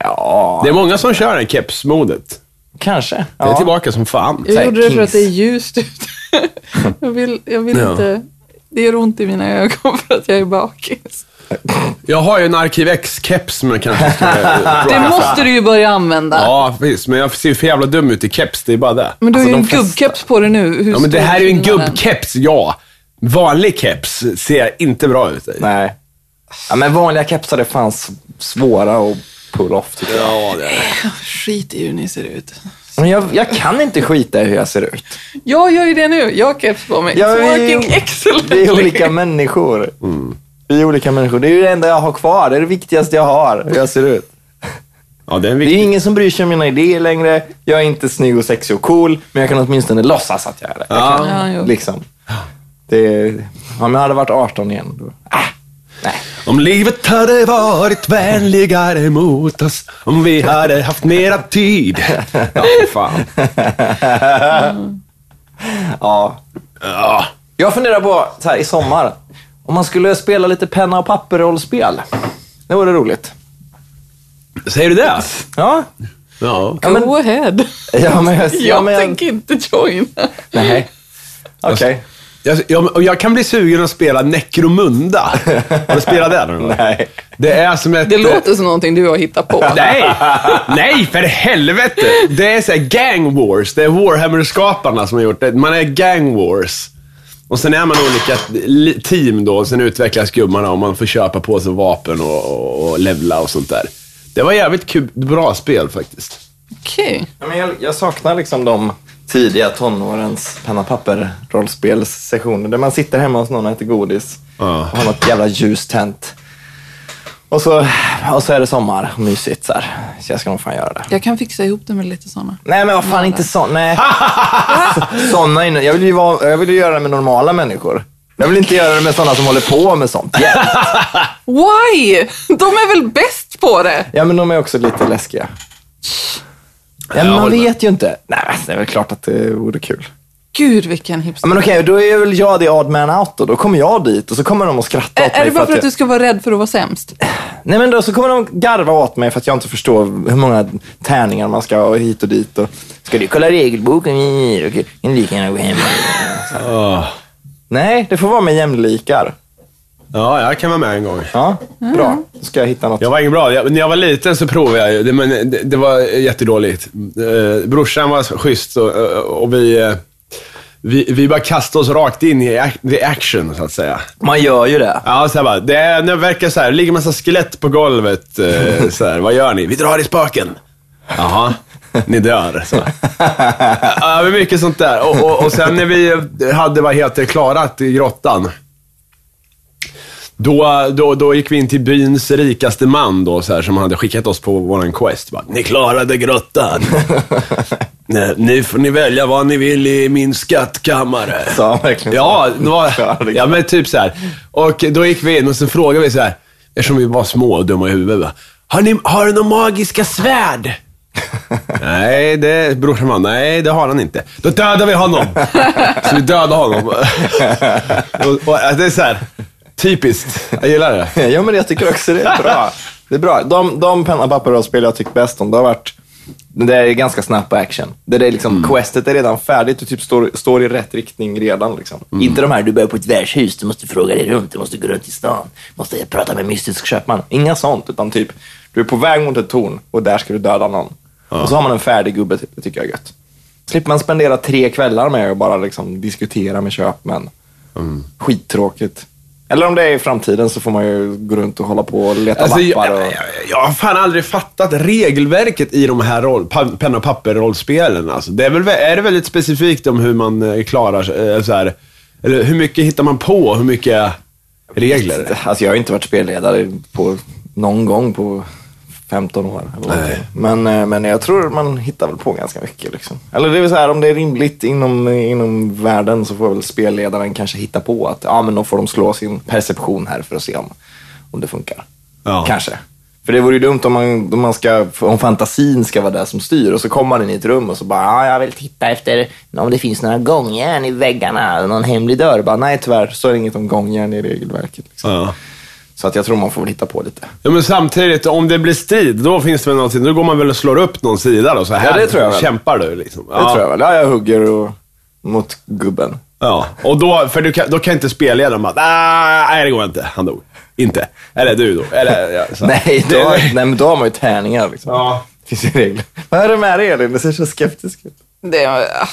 Speaker 3: Ja,
Speaker 1: Det är många som kör den kepsmodet.
Speaker 3: kanske.
Speaker 1: Det är
Speaker 3: Ja.
Speaker 1: tillbaka som fan.
Speaker 2: Jag
Speaker 3: Såhär,
Speaker 2: gjorde det för
Speaker 3: Kings.
Speaker 2: att det är ljust ute. <laughs> Jag vill, jag vill
Speaker 1: Ja.
Speaker 2: inte... Det gör ont i mina ögon <laughs> för att jag är bakis.
Speaker 1: Jag har ju en Arkiv X-keps som jag kanske ska eh,
Speaker 2: Det
Speaker 1: plocka fram.
Speaker 2: måste du ju börja använda.
Speaker 1: Ja, visst. Men jag ser ju för jävla dum ut i keps. Det är bara det.
Speaker 2: Men du har
Speaker 3: Alltså,
Speaker 2: ju en
Speaker 3: de flesta-
Speaker 2: gubbkeps på dig nu. Hur
Speaker 1: Ja, men det
Speaker 2: stor
Speaker 1: här är ju en
Speaker 2: skillnaden?
Speaker 1: gubbkeps, ja. Vanlig keps ser inte bra ut i.
Speaker 3: Nej. Ja, men vanliga kepsar är fan s- svåra att pull off tycker jag.
Speaker 1: Ja, det är det.
Speaker 2: Skit i hur ni ser ut.
Speaker 3: Men jag, jag kan inte skita i hur jag ser ut.
Speaker 2: Jag gör ju det nu. Jag har keps på mig.
Speaker 3: Ja,
Speaker 2: It's
Speaker 3: vi-
Speaker 2: working excellent.
Speaker 3: Vi är
Speaker 1: <laughs>
Speaker 3: olika människor.
Speaker 1: Mm.
Speaker 3: Vi är olika människor. Det är ju det enda jag har kvar. Det är det viktigaste jag har, hur jag ser ut.
Speaker 1: Ja, det är en
Speaker 3: Det är
Speaker 1: viktig...
Speaker 3: ingen som bryr sig om mina idéer längre. Jag är inte snygg och sexig och cool, men jag kan åtminstone låtsas att jag är det. Jag
Speaker 1: Ja.
Speaker 3: kan,
Speaker 2: Ja, jo.
Speaker 3: liksom. det ja, men jag hade varit 18 igen. Då. Ah, nej.
Speaker 1: Om livet hade varit vänligare mot oss, om vi hade haft mera tid. Ja, fy fan.
Speaker 3: Ja.
Speaker 1: Ja.
Speaker 3: Jag funderar på, så här, i sommar, om man skulle spela lite penna och papper-rollspel. Det vore roligt.
Speaker 1: Säger du det?
Speaker 3: Ja,
Speaker 1: Ja.
Speaker 3: men-
Speaker 2: Go ahead.
Speaker 3: ja men... Jag, ja,
Speaker 2: <laughs> Jag
Speaker 3: men jag,
Speaker 2: tänker inte joina.
Speaker 3: nej. Okej.
Speaker 1: Jag, jag, och jag kan bli sugen att spela Necromunda. Har du spelat det någon gång?
Speaker 3: Nej.
Speaker 1: Det är som ett...
Speaker 2: Det låter som någonting du har hittat på.
Speaker 1: Nej! Nej, för helvete! Det är så här gang wars. Det är Warhammer-skaparna som har gjort det. Man är gang wars. Och sen är man olika li- team då, och sen utvecklas gubbarna och man får köpa på sig vapen och, och, och levla och sånt där. Det var jävligt kul, bra spel faktiskt.
Speaker 2: Okej.
Speaker 3: Ja, men jag, jag saknar liksom de tidiga tonårens penna papper rollspelssessioner där man sitter hemma hos någon och äter godis
Speaker 1: Ja.
Speaker 3: och har något jävla ljus tänt. Och så, och så är det sommar och mysigt så här. Så jag ska nog fan göra det.
Speaker 2: Jag kan fixa ihop det med lite sådana.
Speaker 3: Nej men vad fan inte
Speaker 2: <laughs>
Speaker 3: så, nej. Så- såna inne. Jag vill ju vara, jag vill ju göra det med normala människor. Jag vill inte göra det med sådana som håller på med sånt. Yeah.
Speaker 2: Why? De är väl bäst på det?
Speaker 3: Ja men de är också lite läskiga. Ja, men
Speaker 1: Jag
Speaker 3: man
Speaker 1: håller med.
Speaker 3: vet ju inte. Nej men det är väl klart att det vore kul.
Speaker 2: Gud vilken
Speaker 3: Ja,
Speaker 2: hipster.
Speaker 3: men okej, då är väl jag det odd man out då. Då kommer jag dit och så kommer de att skratta åt mig.
Speaker 2: är det bara för att du
Speaker 3: jag...
Speaker 2: ska vara rädd för att vara sämst?
Speaker 3: Nej men då så kommer de garva åt mig för att jag inte förstår hur många tärningar man ska ha hit och dit. Och... Ska du kolla regelboken? Mm, okej. Kan du lika gärna
Speaker 2: <laughs>
Speaker 3: gå hem?
Speaker 1: Åh.
Speaker 3: Nej, det får vara med jämlikar.
Speaker 1: Ja, jag kan vara med en gång.
Speaker 3: Ja, bra. Då ska jag hitta något.
Speaker 1: Jag var ingen bra. Jag, när jag var liten så provade jag ju, det, men det, det var jättedåligt. Eh, brorsan var så schysst och, och vi, eh, vi, vi bara kastade oss rakt in i ac- the action, så att säga.
Speaker 3: Man gör ju det.
Speaker 1: Ja, så här bara, det, är, det verkar så här, det ligger massa skelett på golvet. Eh, så här, vad gör ni? Vi drar i spaken. Jaha, ni dör. Så. här. Ja, men mycket sånt där. Och, och, och sen när vi hade, vad heter det, klarat i grottan. Då, då, då gick vi in till byns rikaste man då, så här, som hade skickat oss på våran quest. Bara, ni klarade
Speaker 3: <laughs>
Speaker 1: grottan. Nej, nu får ni välja vad ni vill i min skattkammare.
Speaker 3: Sa han verkligen så?
Speaker 1: Ja,
Speaker 3: liksom.
Speaker 1: det var,
Speaker 3: <laughs> Ja, det-
Speaker 1: ja, men typ så här. Och då gick vi in och så frågade vi så här, eftersom vi var små och dumma i huvudet. va, Har ni, har du några magiska
Speaker 3: <laughs>
Speaker 1: svärd? nej, det, brorsan bara, nej det har han inte. Då dödar vi honom! så vi dödade
Speaker 3: <laughs>
Speaker 1: honom. och, och, det är så här, typiskt. Jag gillar det.
Speaker 3: <laughs> Ja, men jag tycker också det är bra. Det är bra. De, de penna, papper och spel jag tyckt bäst om, det har varit det är ganska snabbt på action. Det är liksom, Questet är redan färdigt och typ står, står i rätt riktning redan. Liksom.
Speaker 4: Inte de här, du börjar på ett värdshus, du måste fråga dig runt, du måste gå runt i stan, du måste prata med mystisk köpman.
Speaker 3: Inga sånt, utan typ, du är på väg mot ett torn och där ska du döda någon. Och så har man en färdig gubbe, det tycker jag är gött. Slipper man spendera tre kvällar med att bara liksom diskutera med köpmän. Skittråkigt. Eller om det är i framtiden så får man ju gå runt och hålla på och leta
Speaker 1: Alltså, jag,
Speaker 3: lappar.
Speaker 1: jag,
Speaker 3: Och...
Speaker 1: jag, jag har fan aldrig fattat regelverket i de här roll, pa, penna och papper-rollspelen. Alltså. Det är, väl, vä- är det väldigt specifikt om hur man eh, klarar sig? eh, Så här, eller hur mycket hittar man på och hur mycket regler?
Speaker 3: Alltså jag har inte varit spelledare på någon gång på 15 år. Eller någonting. men, eh, men jag tror man hittar väl på ganska mycket. Liksom. Eller det är väl så här, om det är rimligt inom, inom världen så får väl spelledaren kanske hitta på att ja, men då får de slå sin perception här för att se om, om det funkar.
Speaker 1: Ja.
Speaker 3: Kanske. För det vore ju dumt om, man, om, man ska, om fantasin ska vara det som styr och så kommer man in i ett rum och så bara "Ja, jag vill
Speaker 4: Titta efter om det finns några gångjärn i väggarna, någon hemlig
Speaker 3: dör. Bara, Nej tyvärr, så är det inget om gångjärn i regelverket. Liksom.
Speaker 1: Ja.
Speaker 3: Så att jag tror man får väl hitta på lite.
Speaker 1: Ja, men samtidigt, om det blir strid, då finns det väl någonting. Då går man väl och slår upp någon sida då. Så här
Speaker 3: det tror jag väl.
Speaker 1: kämpar du liksom.
Speaker 3: Det tror jag väl. Ja, jag hugger och, mot gubben.
Speaker 1: Ja, och då, för du kan, då kan inte spelledaren bara, "Ah, nej det går inte, han dog. Inte. Eller du dog. Eller, ja, så.
Speaker 3: <laughs> Nej, då,
Speaker 1: Det-
Speaker 3: nej, men då har man ju tärningar liksom.
Speaker 1: Ja.
Speaker 3: Det finns ju regler. Vad är det med dig Elin? Du ser så skeptisk ut.
Speaker 2: Det är... ah.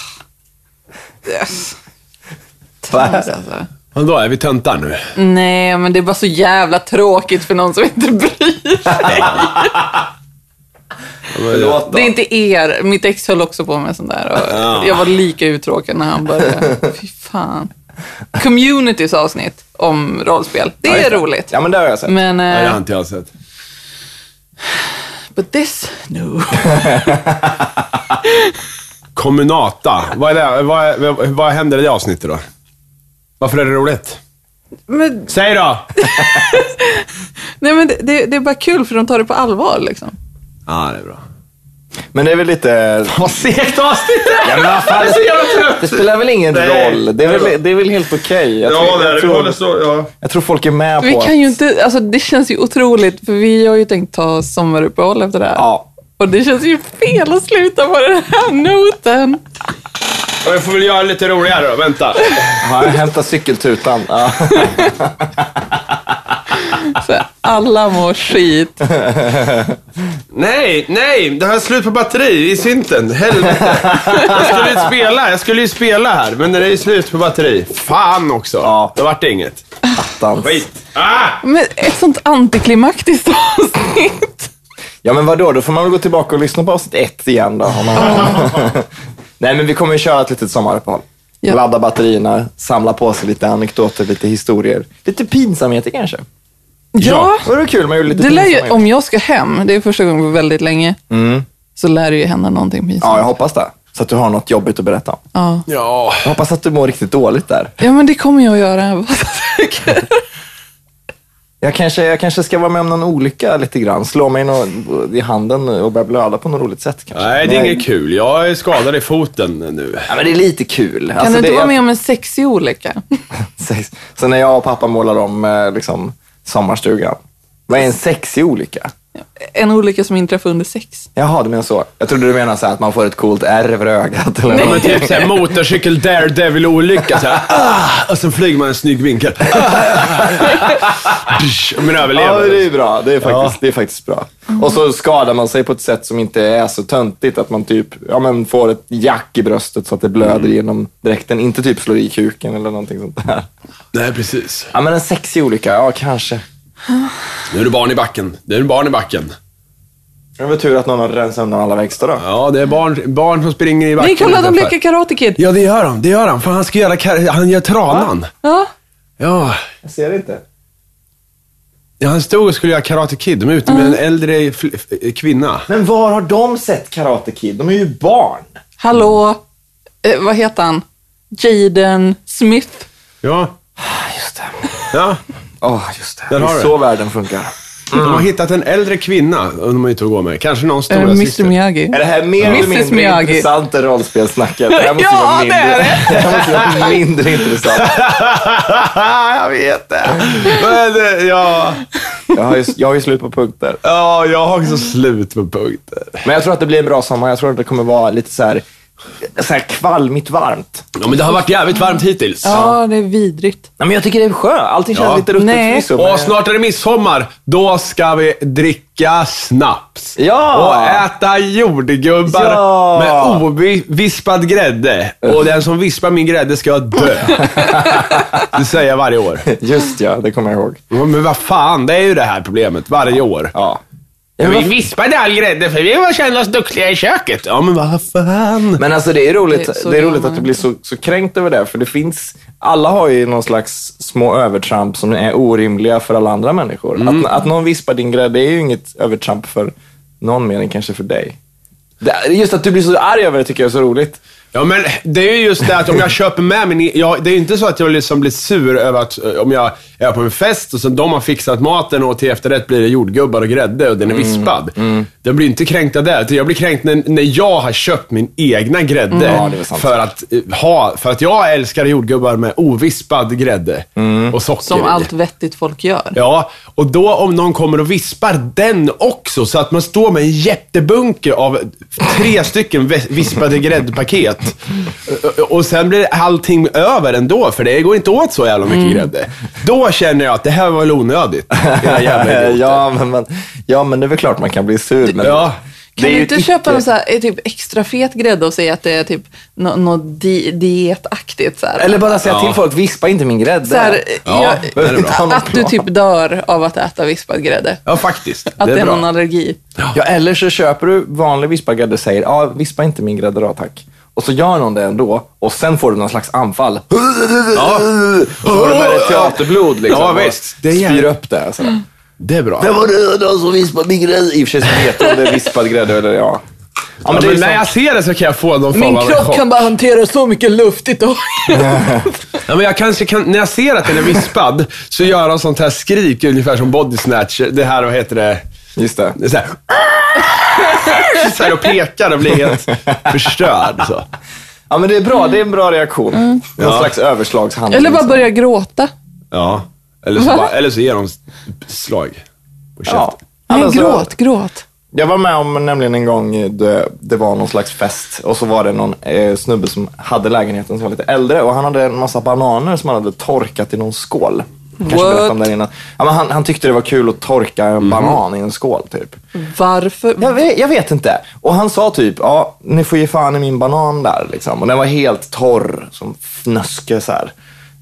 Speaker 2: Yes.
Speaker 3: Vad är
Speaker 2: Trams,
Speaker 3: det?
Speaker 2: alltså.
Speaker 1: Men då är vi töntar nu.
Speaker 2: Nej, men det är bara så jävla tråkigt för någon som inte <laughs> bryr sig.
Speaker 1: <laughs>
Speaker 3: Förlåt då.
Speaker 2: Det är inte er. Mitt ex höll också på med sånt där. Och jag var lika uttråkad när han
Speaker 3: <laughs>
Speaker 2: började. Fy fan. Communitys avsnitt om rollspel. Det
Speaker 3: Ja, just
Speaker 2: är roligt.
Speaker 3: Ja, men det har jag sett.
Speaker 2: Men...
Speaker 1: Nej, det
Speaker 2: eh,
Speaker 1: har inte jag sett.
Speaker 2: But this,
Speaker 3: <laughs>
Speaker 2: no.
Speaker 1: Kommunata. Vad, är det? Vad, vad, vad händer i det avsnittet då? Varför är det roligt?
Speaker 2: Men,
Speaker 1: Säg då!
Speaker 2: nej, men det, det, det är bara kul för de tar det på allvar liksom.
Speaker 1: Ja, det är bra.
Speaker 3: Men det är väl lite...
Speaker 1: Vad segt avsnitt det är!
Speaker 3: Ja, men vad fan,
Speaker 1: Jag är så jävla trött!
Speaker 3: det spelar väl ingen
Speaker 1: Nej.
Speaker 3: roll? Det är väl, det är väl helt okej? Jag, tror- jag, tror-
Speaker 1: Ja.
Speaker 3: jag tror folk är med
Speaker 2: Vi
Speaker 3: på
Speaker 2: kan ju
Speaker 3: att-
Speaker 2: inte, alltså det känns ju otroligt för vi har ju tänkt ta sommaruppehåll efter det här.
Speaker 3: Ja.
Speaker 2: Och det känns ju fel att sluta på den här
Speaker 3: <laughs>
Speaker 2: noten.
Speaker 1: Och jag får väl göra det lite roligare då. Vänta.
Speaker 3: Ja, hämta cykeltutan. Ja.
Speaker 2: Så alla mår skit.
Speaker 1: Nej, nej! Det här är slut på batteri i synten. Helvete. Jag skulle ju spela, jag skulle ju spela här, men det är ju slut på batteri. Fan också.
Speaker 3: Ja.
Speaker 1: Det vart inget.
Speaker 3: Dans.
Speaker 1: Skit. Ah!
Speaker 2: Men ett sånt antiklimaktiskt <laughs> avsnitt.
Speaker 3: Ja men vadå, då får man väl gå tillbaka och lyssna på avsnitt ett igen då. om man- <laughs> Nej men vi kommer ju köra ett litet sommaruppehåll.
Speaker 2: Ja.
Speaker 3: Ladda batterierna, samla på sig lite anekdoter, lite historier. Lite pinsamheter kanske.
Speaker 2: Ja,
Speaker 3: Var det kul man gjorde lite
Speaker 2: det lär ju,
Speaker 3: pinsamheter?
Speaker 2: om jag ska hem, det är första gången på väldigt länge, så lär det ju hända någonting
Speaker 3: Ja,
Speaker 2: pinsamt.
Speaker 3: jag hoppas det. Så att du har något jobbigt att berätta om.
Speaker 2: Ja.
Speaker 1: Ja.
Speaker 3: Jag hoppas att du mår riktigt dåligt där.
Speaker 2: ja, men det kommer jag att göra. <laughs> Var så säker.
Speaker 3: Jag kanske, jag kanske ska vara med om någon olycka lite grann. Slå mig i nå- i handen och börja blöda på något roligt sätt kanske.
Speaker 1: Nej, det är
Speaker 3: Men-
Speaker 1: inget kul. Jag är skadad i foten nu.
Speaker 3: Ja, men det är lite kul.
Speaker 2: Kan du inte vara med om en sexig olycka? <laughs>
Speaker 3: Sex. <laughs> Så när jag och pappa målar om eh, liksom, sommarstugan. Vad är en sexig olycka?
Speaker 2: En olycka som inträffar under sex.
Speaker 3: Jaha, du menar så. Jag trodde du menade så här att man får ett coolt ärr över ögat. Eller
Speaker 1: Ja, men
Speaker 3: något.
Speaker 1: typ såhär motorcykel daredevil-olycka. såhär, Ah! Och sen flyger man en snygg vinkel. Ah! Psh, Men
Speaker 3: Ja,
Speaker 1: överlever.
Speaker 3: det är ju bra. Det är, faktiskt, det är faktiskt bra. Och så skadar man sig på ett sätt som inte är så töntigt. Att man typ ja, men får ett jack i bröstet så att det blöder
Speaker 1: Mm.
Speaker 3: genom dräkten. Inte typ slår i kuken eller någonting sånt där.
Speaker 1: Nej, precis.
Speaker 3: Ja, men en sexig olycka. Ja, kanske.
Speaker 1: Nu är det barn i backen. Nu är det barn i backen.
Speaker 3: Det var tur att någon har rensat undan alla växter då.
Speaker 1: Ja, det är barn, barn som springer i backen.
Speaker 2: Nej, kolla de
Speaker 1: utanför.
Speaker 2: leker Karate Kid.
Speaker 1: Ja, det gör han. Det gör han. För han ska göra kar- Han gör tranan.
Speaker 2: Ja.
Speaker 1: Ja.
Speaker 3: Jag ser det inte.
Speaker 1: ja, han stod och skulle göra Karate Kid. De är ute med en
Speaker 2: Mm.
Speaker 1: äldre fl- f- eh, kvinna.
Speaker 3: Men var har de sett Karate Kid? De är ju barn.
Speaker 2: Hallå, eh, vad heter han? Jaden Smith.
Speaker 1: Ja,
Speaker 3: Just det.
Speaker 1: ja.
Speaker 3: Åh, just det.
Speaker 1: Där
Speaker 3: det
Speaker 1: har
Speaker 3: är
Speaker 1: du.
Speaker 3: så världen funkar.
Speaker 1: De har hittat en äldre kvinna och de är ute och går med. Kanske någon
Speaker 2: Mm. Är det
Speaker 1: stora
Speaker 2: Mr
Speaker 1: syster.
Speaker 2: Eh, Miyagi?
Speaker 3: Är det här mer eller
Speaker 2: Mrs.
Speaker 3: mindre
Speaker 2: Miyagi.
Speaker 3: intressant än rollspelssnacket? Det här måste
Speaker 2: Ja,
Speaker 3: ju vara
Speaker 2: det
Speaker 3: mindre,
Speaker 2: är
Speaker 3: <laughs> det. här måste ju vara mindre intressant.
Speaker 1: <laughs> jag vet det. Men, eh, ja.
Speaker 3: Jag har, ju, jag har ju slut på punkter.
Speaker 1: ja, jag har också slut på punkter.
Speaker 3: Men jag tror att det blir en bra sommar. Jag tror att det kommer vara lite så här så här kvalmigt varmt.
Speaker 1: Ja, men det har varit jävligt varmt hittills.
Speaker 2: Ja, det är vidrigt.
Speaker 3: Nej, men jag tycker det är skönt. Allting känns
Speaker 1: Ja.
Speaker 3: lite ruttet
Speaker 2: Nej.
Speaker 3: förvisso. men-
Speaker 1: Och snart är det midsommar. Då ska vi dricka snaps.
Speaker 3: Ja.
Speaker 1: Och äta jordgubbar
Speaker 3: Ja.
Speaker 1: med ovispad grädde. Och den som vispar min grädde ska <laughs> dö. Det säger jag varje år.
Speaker 3: <laughs> Just ja, det kommer jag ihåg.
Speaker 1: Men vad fan, det är ju det här problemet varje år.
Speaker 3: Ja.
Speaker 1: Vi vispade all grädde för vi var känna oss duktiga i köket. Ja, men vad fan.
Speaker 3: Men alltså det är roligt,
Speaker 2: Det- så
Speaker 3: det är
Speaker 2: gör
Speaker 3: roligt
Speaker 2: man
Speaker 3: att du blir så, så kränkt över det, för det finns, alla har ju någon slags små övertramp som är orimliga för alla andra människor. Att, att någon vispar din grädde är ju inget övertramp för någon mer än kanske för dig. Det, just att du blir så arg över det tycker jag är så <laughs> roligt.
Speaker 1: Ja, men det är ju just det att om jag köper med min... Jag, det är ju inte så att jag liksom blir sur över att eh, om jag är på en fest och så de har fixat maten och till efterrätt blir det jordgubbar och grädde och
Speaker 3: Mm,
Speaker 1: den är vispad. Jag blir inte kränkt av det. utan Jag blir kränkt när, när jag har köpt min egna grädde
Speaker 3: Mm. Ja, det är sant.
Speaker 1: för, att, eh, ha, för att jag älskar jordgubbar med ovispad grädde
Speaker 3: Mm.
Speaker 1: och socker
Speaker 2: Som
Speaker 1: i.
Speaker 2: allt vettigt folk gör.
Speaker 1: Ja, och då om någon kommer och vispar den också, så att man står med en jättebunke av tre stycken vis- vispade gräddpaket. Och- Och sen blir allting över ändå, för det går inte åt så jävla
Speaker 3: Mm.
Speaker 1: mycket grädde. Då känner jag att det här var väl onödigt. Era jävla idioter.
Speaker 3: <laughs> ja, men, men, ja, men det är väl klart man kan bli sur. Men
Speaker 1: Ja.
Speaker 3: det
Speaker 2: Kan
Speaker 3: är
Speaker 2: du
Speaker 3: ju
Speaker 2: inte
Speaker 3: ett
Speaker 2: köpa
Speaker 3: icke-
Speaker 2: någon så här, eh, typ extra fet grädde och säga att det är typ något no, di, dietaktigt? Så här.
Speaker 3: Eller bara säga
Speaker 1: Ja.
Speaker 3: till folk, vispa inte min grädde.
Speaker 2: så här, eh,
Speaker 1: Ja,
Speaker 2: jag,
Speaker 1: det är bra.
Speaker 2: att, att du typ dör av att äta vispad grädde.
Speaker 1: ja, faktiskt.
Speaker 2: Att det är,
Speaker 1: bra.
Speaker 2: någon allergi.
Speaker 3: Ja, eller så köper du vanlig vispad grädde och säger ja, vispa inte min grädde då tack. Och så gör någon det ändå och sen får du någon slags anfall.
Speaker 1: Ja.
Speaker 3: Och så har du med dig teaterblod liksom.
Speaker 1: Ja,
Speaker 3: och
Speaker 1: visst. Det Mm. är
Speaker 3: Spyr
Speaker 1: jävligt-
Speaker 3: upp det. alltså. Sådär.
Speaker 1: Det är bra.
Speaker 4: Vem var det då som vispade min grädde?
Speaker 3: I och för sig så vet du om det är vispad grädde eller ja.
Speaker 1: Ja, men
Speaker 3: det är
Speaker 1: när
Speaker 3: sånt.
Speaker 1: jag ser det så kan jag få någon form
Speaker 2: Min
Speaker 1: av
Speaker 2: kropp
Speaker 1: chock.
Speaker 2: kan bara hantera så mycket luft i dag.
Speaker 1: Ja, men jag kanske kan, när jag ser att den är vispad, så gör de sånt här skrik ungefär som body snatch. Det här, vad heter det?
Speaker 3: Just det.
Speaker 1: Det är så här, <laughs> så här och pekar och blir helt förstörd. Så.
Speaker 3: Ja, men det är bra. Det är en bra reaktion. Någon slags överslagshandling.
Speaker 2: <laughs> Mm. Eller bara
Speaker 3: liksom.
Speaker 2: börja gråta.
Speaker 1: Ja. Eller så, bara, eller så ger de slag på käften.
Speaker 3: Ja.
Speaker 2: Nej,
Speaker 3: Alltså-
Speaker 2: gråt, gråt.
Speaker 3: Jag var med om nämligen en gång eh, det, det var någon slags fest och så var det någon eh, snubbe som hade lägenheten som var lite äldre och han hade en massa bananer som han hade torkat i någon skål. Kanske
Speaker 2: What? Mhm.
Speaker 3: berättade om det innan. Ja, men han, han tyckte det var kul att torka en banan i en skål typ.
Speaker 2: Varför?
Speaker 3: Jag vet, jag vet inte. Och han sa typ, ja, ni får ge fan i min banan där liksom. Och den var helt torr som fnöske så här.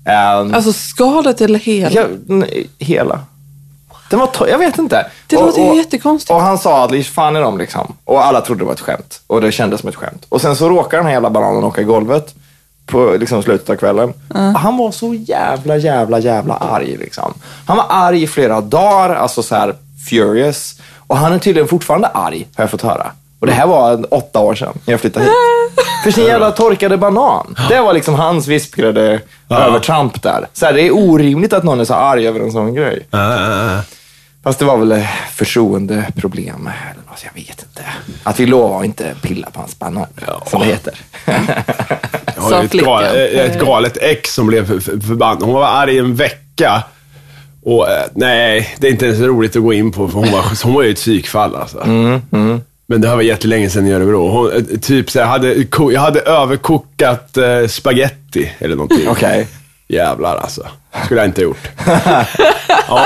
Speaker 3: Ehm,
Speaker 2: Alltså skalet eller hela?
Speaker 3: Ja, nej, hela. Den var to- jag vet inte.
Speaker 2: Det låter ju jättekonstigt.
Speaker 3: Och han sa att "Lish, fan är de liksom. Och alla trodde det var ett skämt. Och det kändes som ett skämt. Och sen så råkade den här jävla bananen åka i golvet. På liksom slutet av kvällen. Och han var så jävla, jävla, jävla arg. Liksom. Han var arg i flera dagar. Alltså så här furious. Och han är tydligen fortfarande arg, har jag fått höra. Och det här var en- åtta år sedan, när jag
Speaker 2: <laughs>
Speaker 3: flyttade hit. För sin jävla torkade banan. Det var liksom hans vispgrädde övertramp där. Så här, det är orimligt att någon är så arg över en sån grej.
Speaker 1: Ah.
Speaker 3: Fast det var väl eh, förtroendeproblem eller något, jag vet inte. Att vi lovar att inte pilla på hans banan, som det heter.
Speaker 1: Jag har ju ett,
Speaker 2: Sa flickan.
Speaker 1: gal, eh, ett galet ex som blev för- för- förbannad. Hon var arg en vecka. Och, eh, nej, det är inte ens roligt att gå in på, för hon var, hon var ju ett psykfall alltså. Men det här var jättelänge sedan i Örebro. Hon, eh, typ, så här, hade, ko- jag hade överkokat eh, spaghetti eller någonting.
Speaker 3: Okej.
Speaker 1: Jävlar alltså. skulle jag inte ha <laughs> gjort. ja.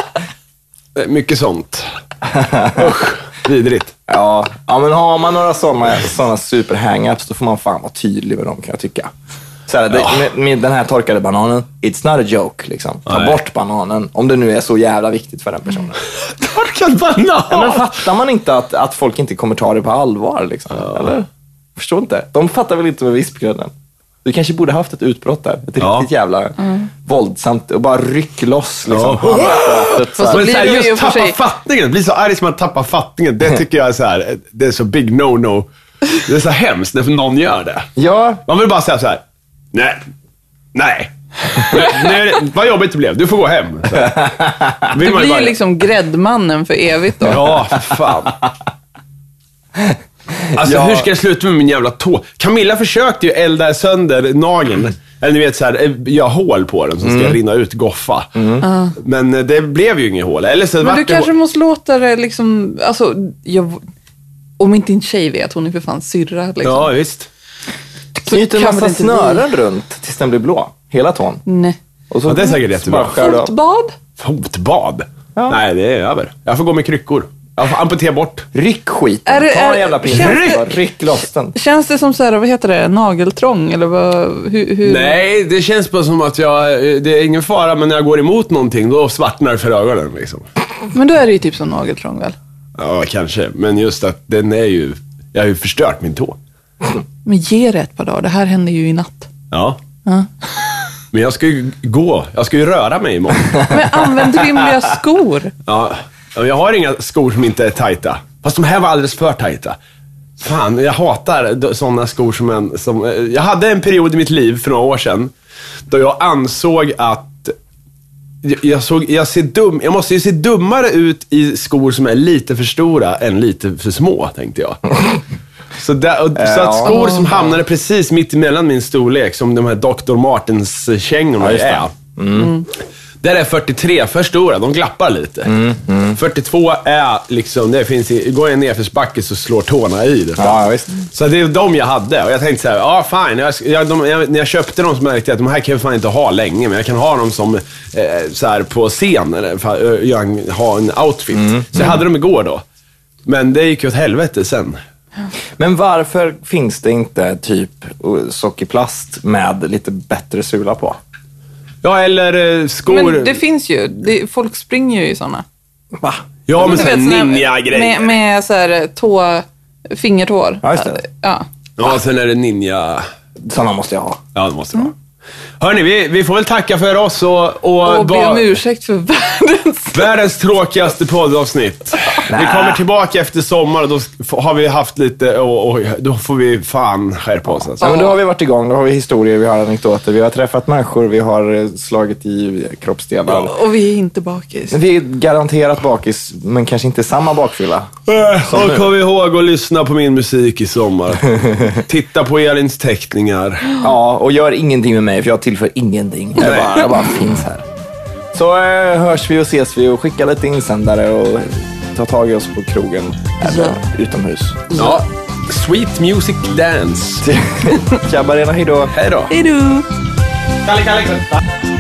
Speaker 1: Eh, Mycket sånt. Usch, vidrigt.
Speaker 3: Ja. ja, men har man några sådana såna super hang-ups då får man fan vara tydlig med dem kan jag tycka. Så här, det, med, med den här torkade bananen, it's not a joke. Liksom. Ta
Speaker 1: Nej.
Speaker 3: bort bananen, om det nu är så jävla viktigt för den personen.
Speaker 1: Torkad banan!
Speaker 3: Ja, Men fattar man inte att, att folk inte kommer ta det på allvar? Liksom, Eller? Förstår inte. De fattar väl inte med vispgrädden? Du kanske borde haft ett utbrott där. Ett
Speaker 1: Ja.
Speaker 3: riktigt jävla
Speaker 2: Mm.
Speaker 3: våldsamt och bara ryck loss liksom.
Speaker 1: Ja.
Speaker 3: handfatet, så här.
Speaker 2: så
Speaker 1: Men
Speaker 2: blir
Speaker 1: så här,
Speaker 2: det ju
Speaker 1: just
Speaker 2: för
Speaker 1: tappa
Speaker 2: sig-
Speaker 1: fattningen. Bli så arg som man tappar fattningen. Det tycker jag är så här, det är så big no-no. Det är så hemskt när någon gör det.
Speaker 3: Ja,
Speaker 1: Man vill bara säga så här. nej,
Speaker 2: <laughs>
Speaker 1: nej. nej är det- vad jobbigt det blev, du får gå hem. Så här. Vill man
Speaker 2: Det
Speaker 1: ju
Speaker 2: blir
Speaker 1: bara-
Speaker 2: ju liksom gräddmannen för evigt då.
Speaker 1: Ja, för fan. Alltså
Speaker 3: Ja.
Speaker 1: hur ska jag sluta med min jävla tå? Camilla försökte ju elda sönder nageln. Eller ni vet så här, jag hål på den som ska rinna ut goffa. Men eh, det blev ju inget hål. Eller så
Speaker 2: Men
Speaker 1: vart
Speaker 2: du
Speaker 1: det
Speaker 2: kanske måste låta det liksom, alltså, jag, om inte din tjej vet, hon är för fan syrra liksom.
Speaker 1: Ja, visst.
Speaker 3: Knyt en
Speaker 2: kan väl
Speaker 3: massa
Speaker 2: inte vi-
Speaker 3: snören runt tills den blir blå. Hela tån.
Speaker 2: Nej.
Speaker 3: Och så
Speaker 1: Ja, det är säkert jättebra.
Speaker 3: bara skär du av.
Speaker 2: Fotbad?
Speaker 1: Fotbad?
Speaker 3: Ja.
Speaker 1: Nej, det är över. Jag får gå med kryckor. Jag får amputera bort.
Speaker 3: Ryck skiten.
Speaker 2: Är det-
Speaker 3: Ta
Speaker 2: är-
Speaker 3: en jävla pinne.
Speaker 2: känns
Speaker 1: det-
Speaker 3: Bara Ryck loss den.
Speaker 2: Känns det som så här, vad heter det, nageltrång eller vad, hur, hur?
Speaker 1: Nej, det känns bara som att jag... eh, Det är ingen fara, men när jag går emot någonting då svartnar det för ögonen liksom.
Speaker 2: Men då är det ju typ som nageltrång väl?
Speaker 1: Ja, kanske. Men just att den är ju... Jag har ju förstört min tå.
Speaker 2: Men ge det ett par dagar, det här hände ju i natt.
Speaker 1: Ja. Men jag ska ju gå. Jag ska ju röra mig imorgon.
Speaker 2: Men använd rimliga skor.
Speaker 1: Ja. Ja, Jag har inga skor som inte är tajta. Fast de här var alldeles för tajta. Fan, jag hatar d- sådana skor som en... Som, eh, jag hade en period i mitt liv för några år sedan då jag ansåg att jag- jag, såg, jag, ser dum, jag måste ju se dummare ut i skor som är lite för stora än lite för små, tänkte jag. Så, där, och, så att
Speaker 3: Ja.
Speaker 1: skor som hamnade precis mitt emellan min storlek, som de här Dr. Martens-kängorna
Speaker 3: just det.
Speaker 1: är. Där är 43 för stora, de glappar lite. 42 är liksom, det finns i, går jag nerförsbacke så slår tårna i det.
Speaker 3: Ja, visst.
Speaker 1: Så det är de jag hade och jag tänkte så här, ja ah, fine. Jag, jag, de, jag, när jag köpte dem så märkte jag att de här kan jag fan inte ha länge, men jag kan ha dem som eh, så här på scen, eller fa- ö, göra en- ha en outfit. Så jag hade dem igår då. Men det gick ju åt helvete sen.
Speaker 3: Men varför finns det inte typ eh, sockerplast med lite bättre sula på?
Speaker 1: Ja, eller eh, skor.
Speaker 2: Men det finns ju, det, folk springer ju i sådana.
Speaker 3: Va?
Speaker 1: ja, men
Speaker 2: Du
Speaker 1: såhär
Speaker 2: vet, såna här-
Speaker 1: ninja-grejer.
Speaker 2: Med, med så här tå, fingertår.
Speaker 3: Ja, just det.
Speaker 2: Ja.
Speaker 1: Ja, sen är det ninja...
Speaker 3: Sådana måste jag ha.
Speaker 1: Ja, det måste det
Speaker 2: Mm.
Speaker 1: vara. Hörni, vi, vi får väl tacka för oss och... Och,
Speaker 2: Och be
Speaker 1: bara-
Speaker 2: om ursäkt för <laughs> världens...
Speaker 1: Världens tråkigaste poddavsnitt. Vi kommer tillbaka efter sommar och då f- har vi haft lite... Och, och, då får vi fan skärpa oss. Alltså.
Speaker 3: Ja, men då har vi varit igång. Då har vi historier, vi har anekdoter, vi har träffat människor, vi har eh, slagit i kroppsdelar.
Speaker 2: Och vi är inte bakis.
Speaker 3: Vi är garanterat bakis, men kanske inte samma bakfylla.
Speaker 1: Äh, Och kom ihåg att lyssna på min musik i
Speaker 2: <laughs>
Speaker 1: sommar. Titta på Elins teckningar.
Speaker 3: Ja, och gör ingenting med mig, för jag tillför ingenting. Jag bara, jag bara finns här. Så eh, hörs vi och ses vi och skicka lite insändare och ta tag i oss på krogen eller utomhus. <laughs>
Speaker 1: Ja. Sweet music dance.
Speaker 3: Tjabbarena, hej då!
Speaker 1: Hej då.
Speaker 2: Hej då!
Speaker 1: Kalle, Kalle, Kalle.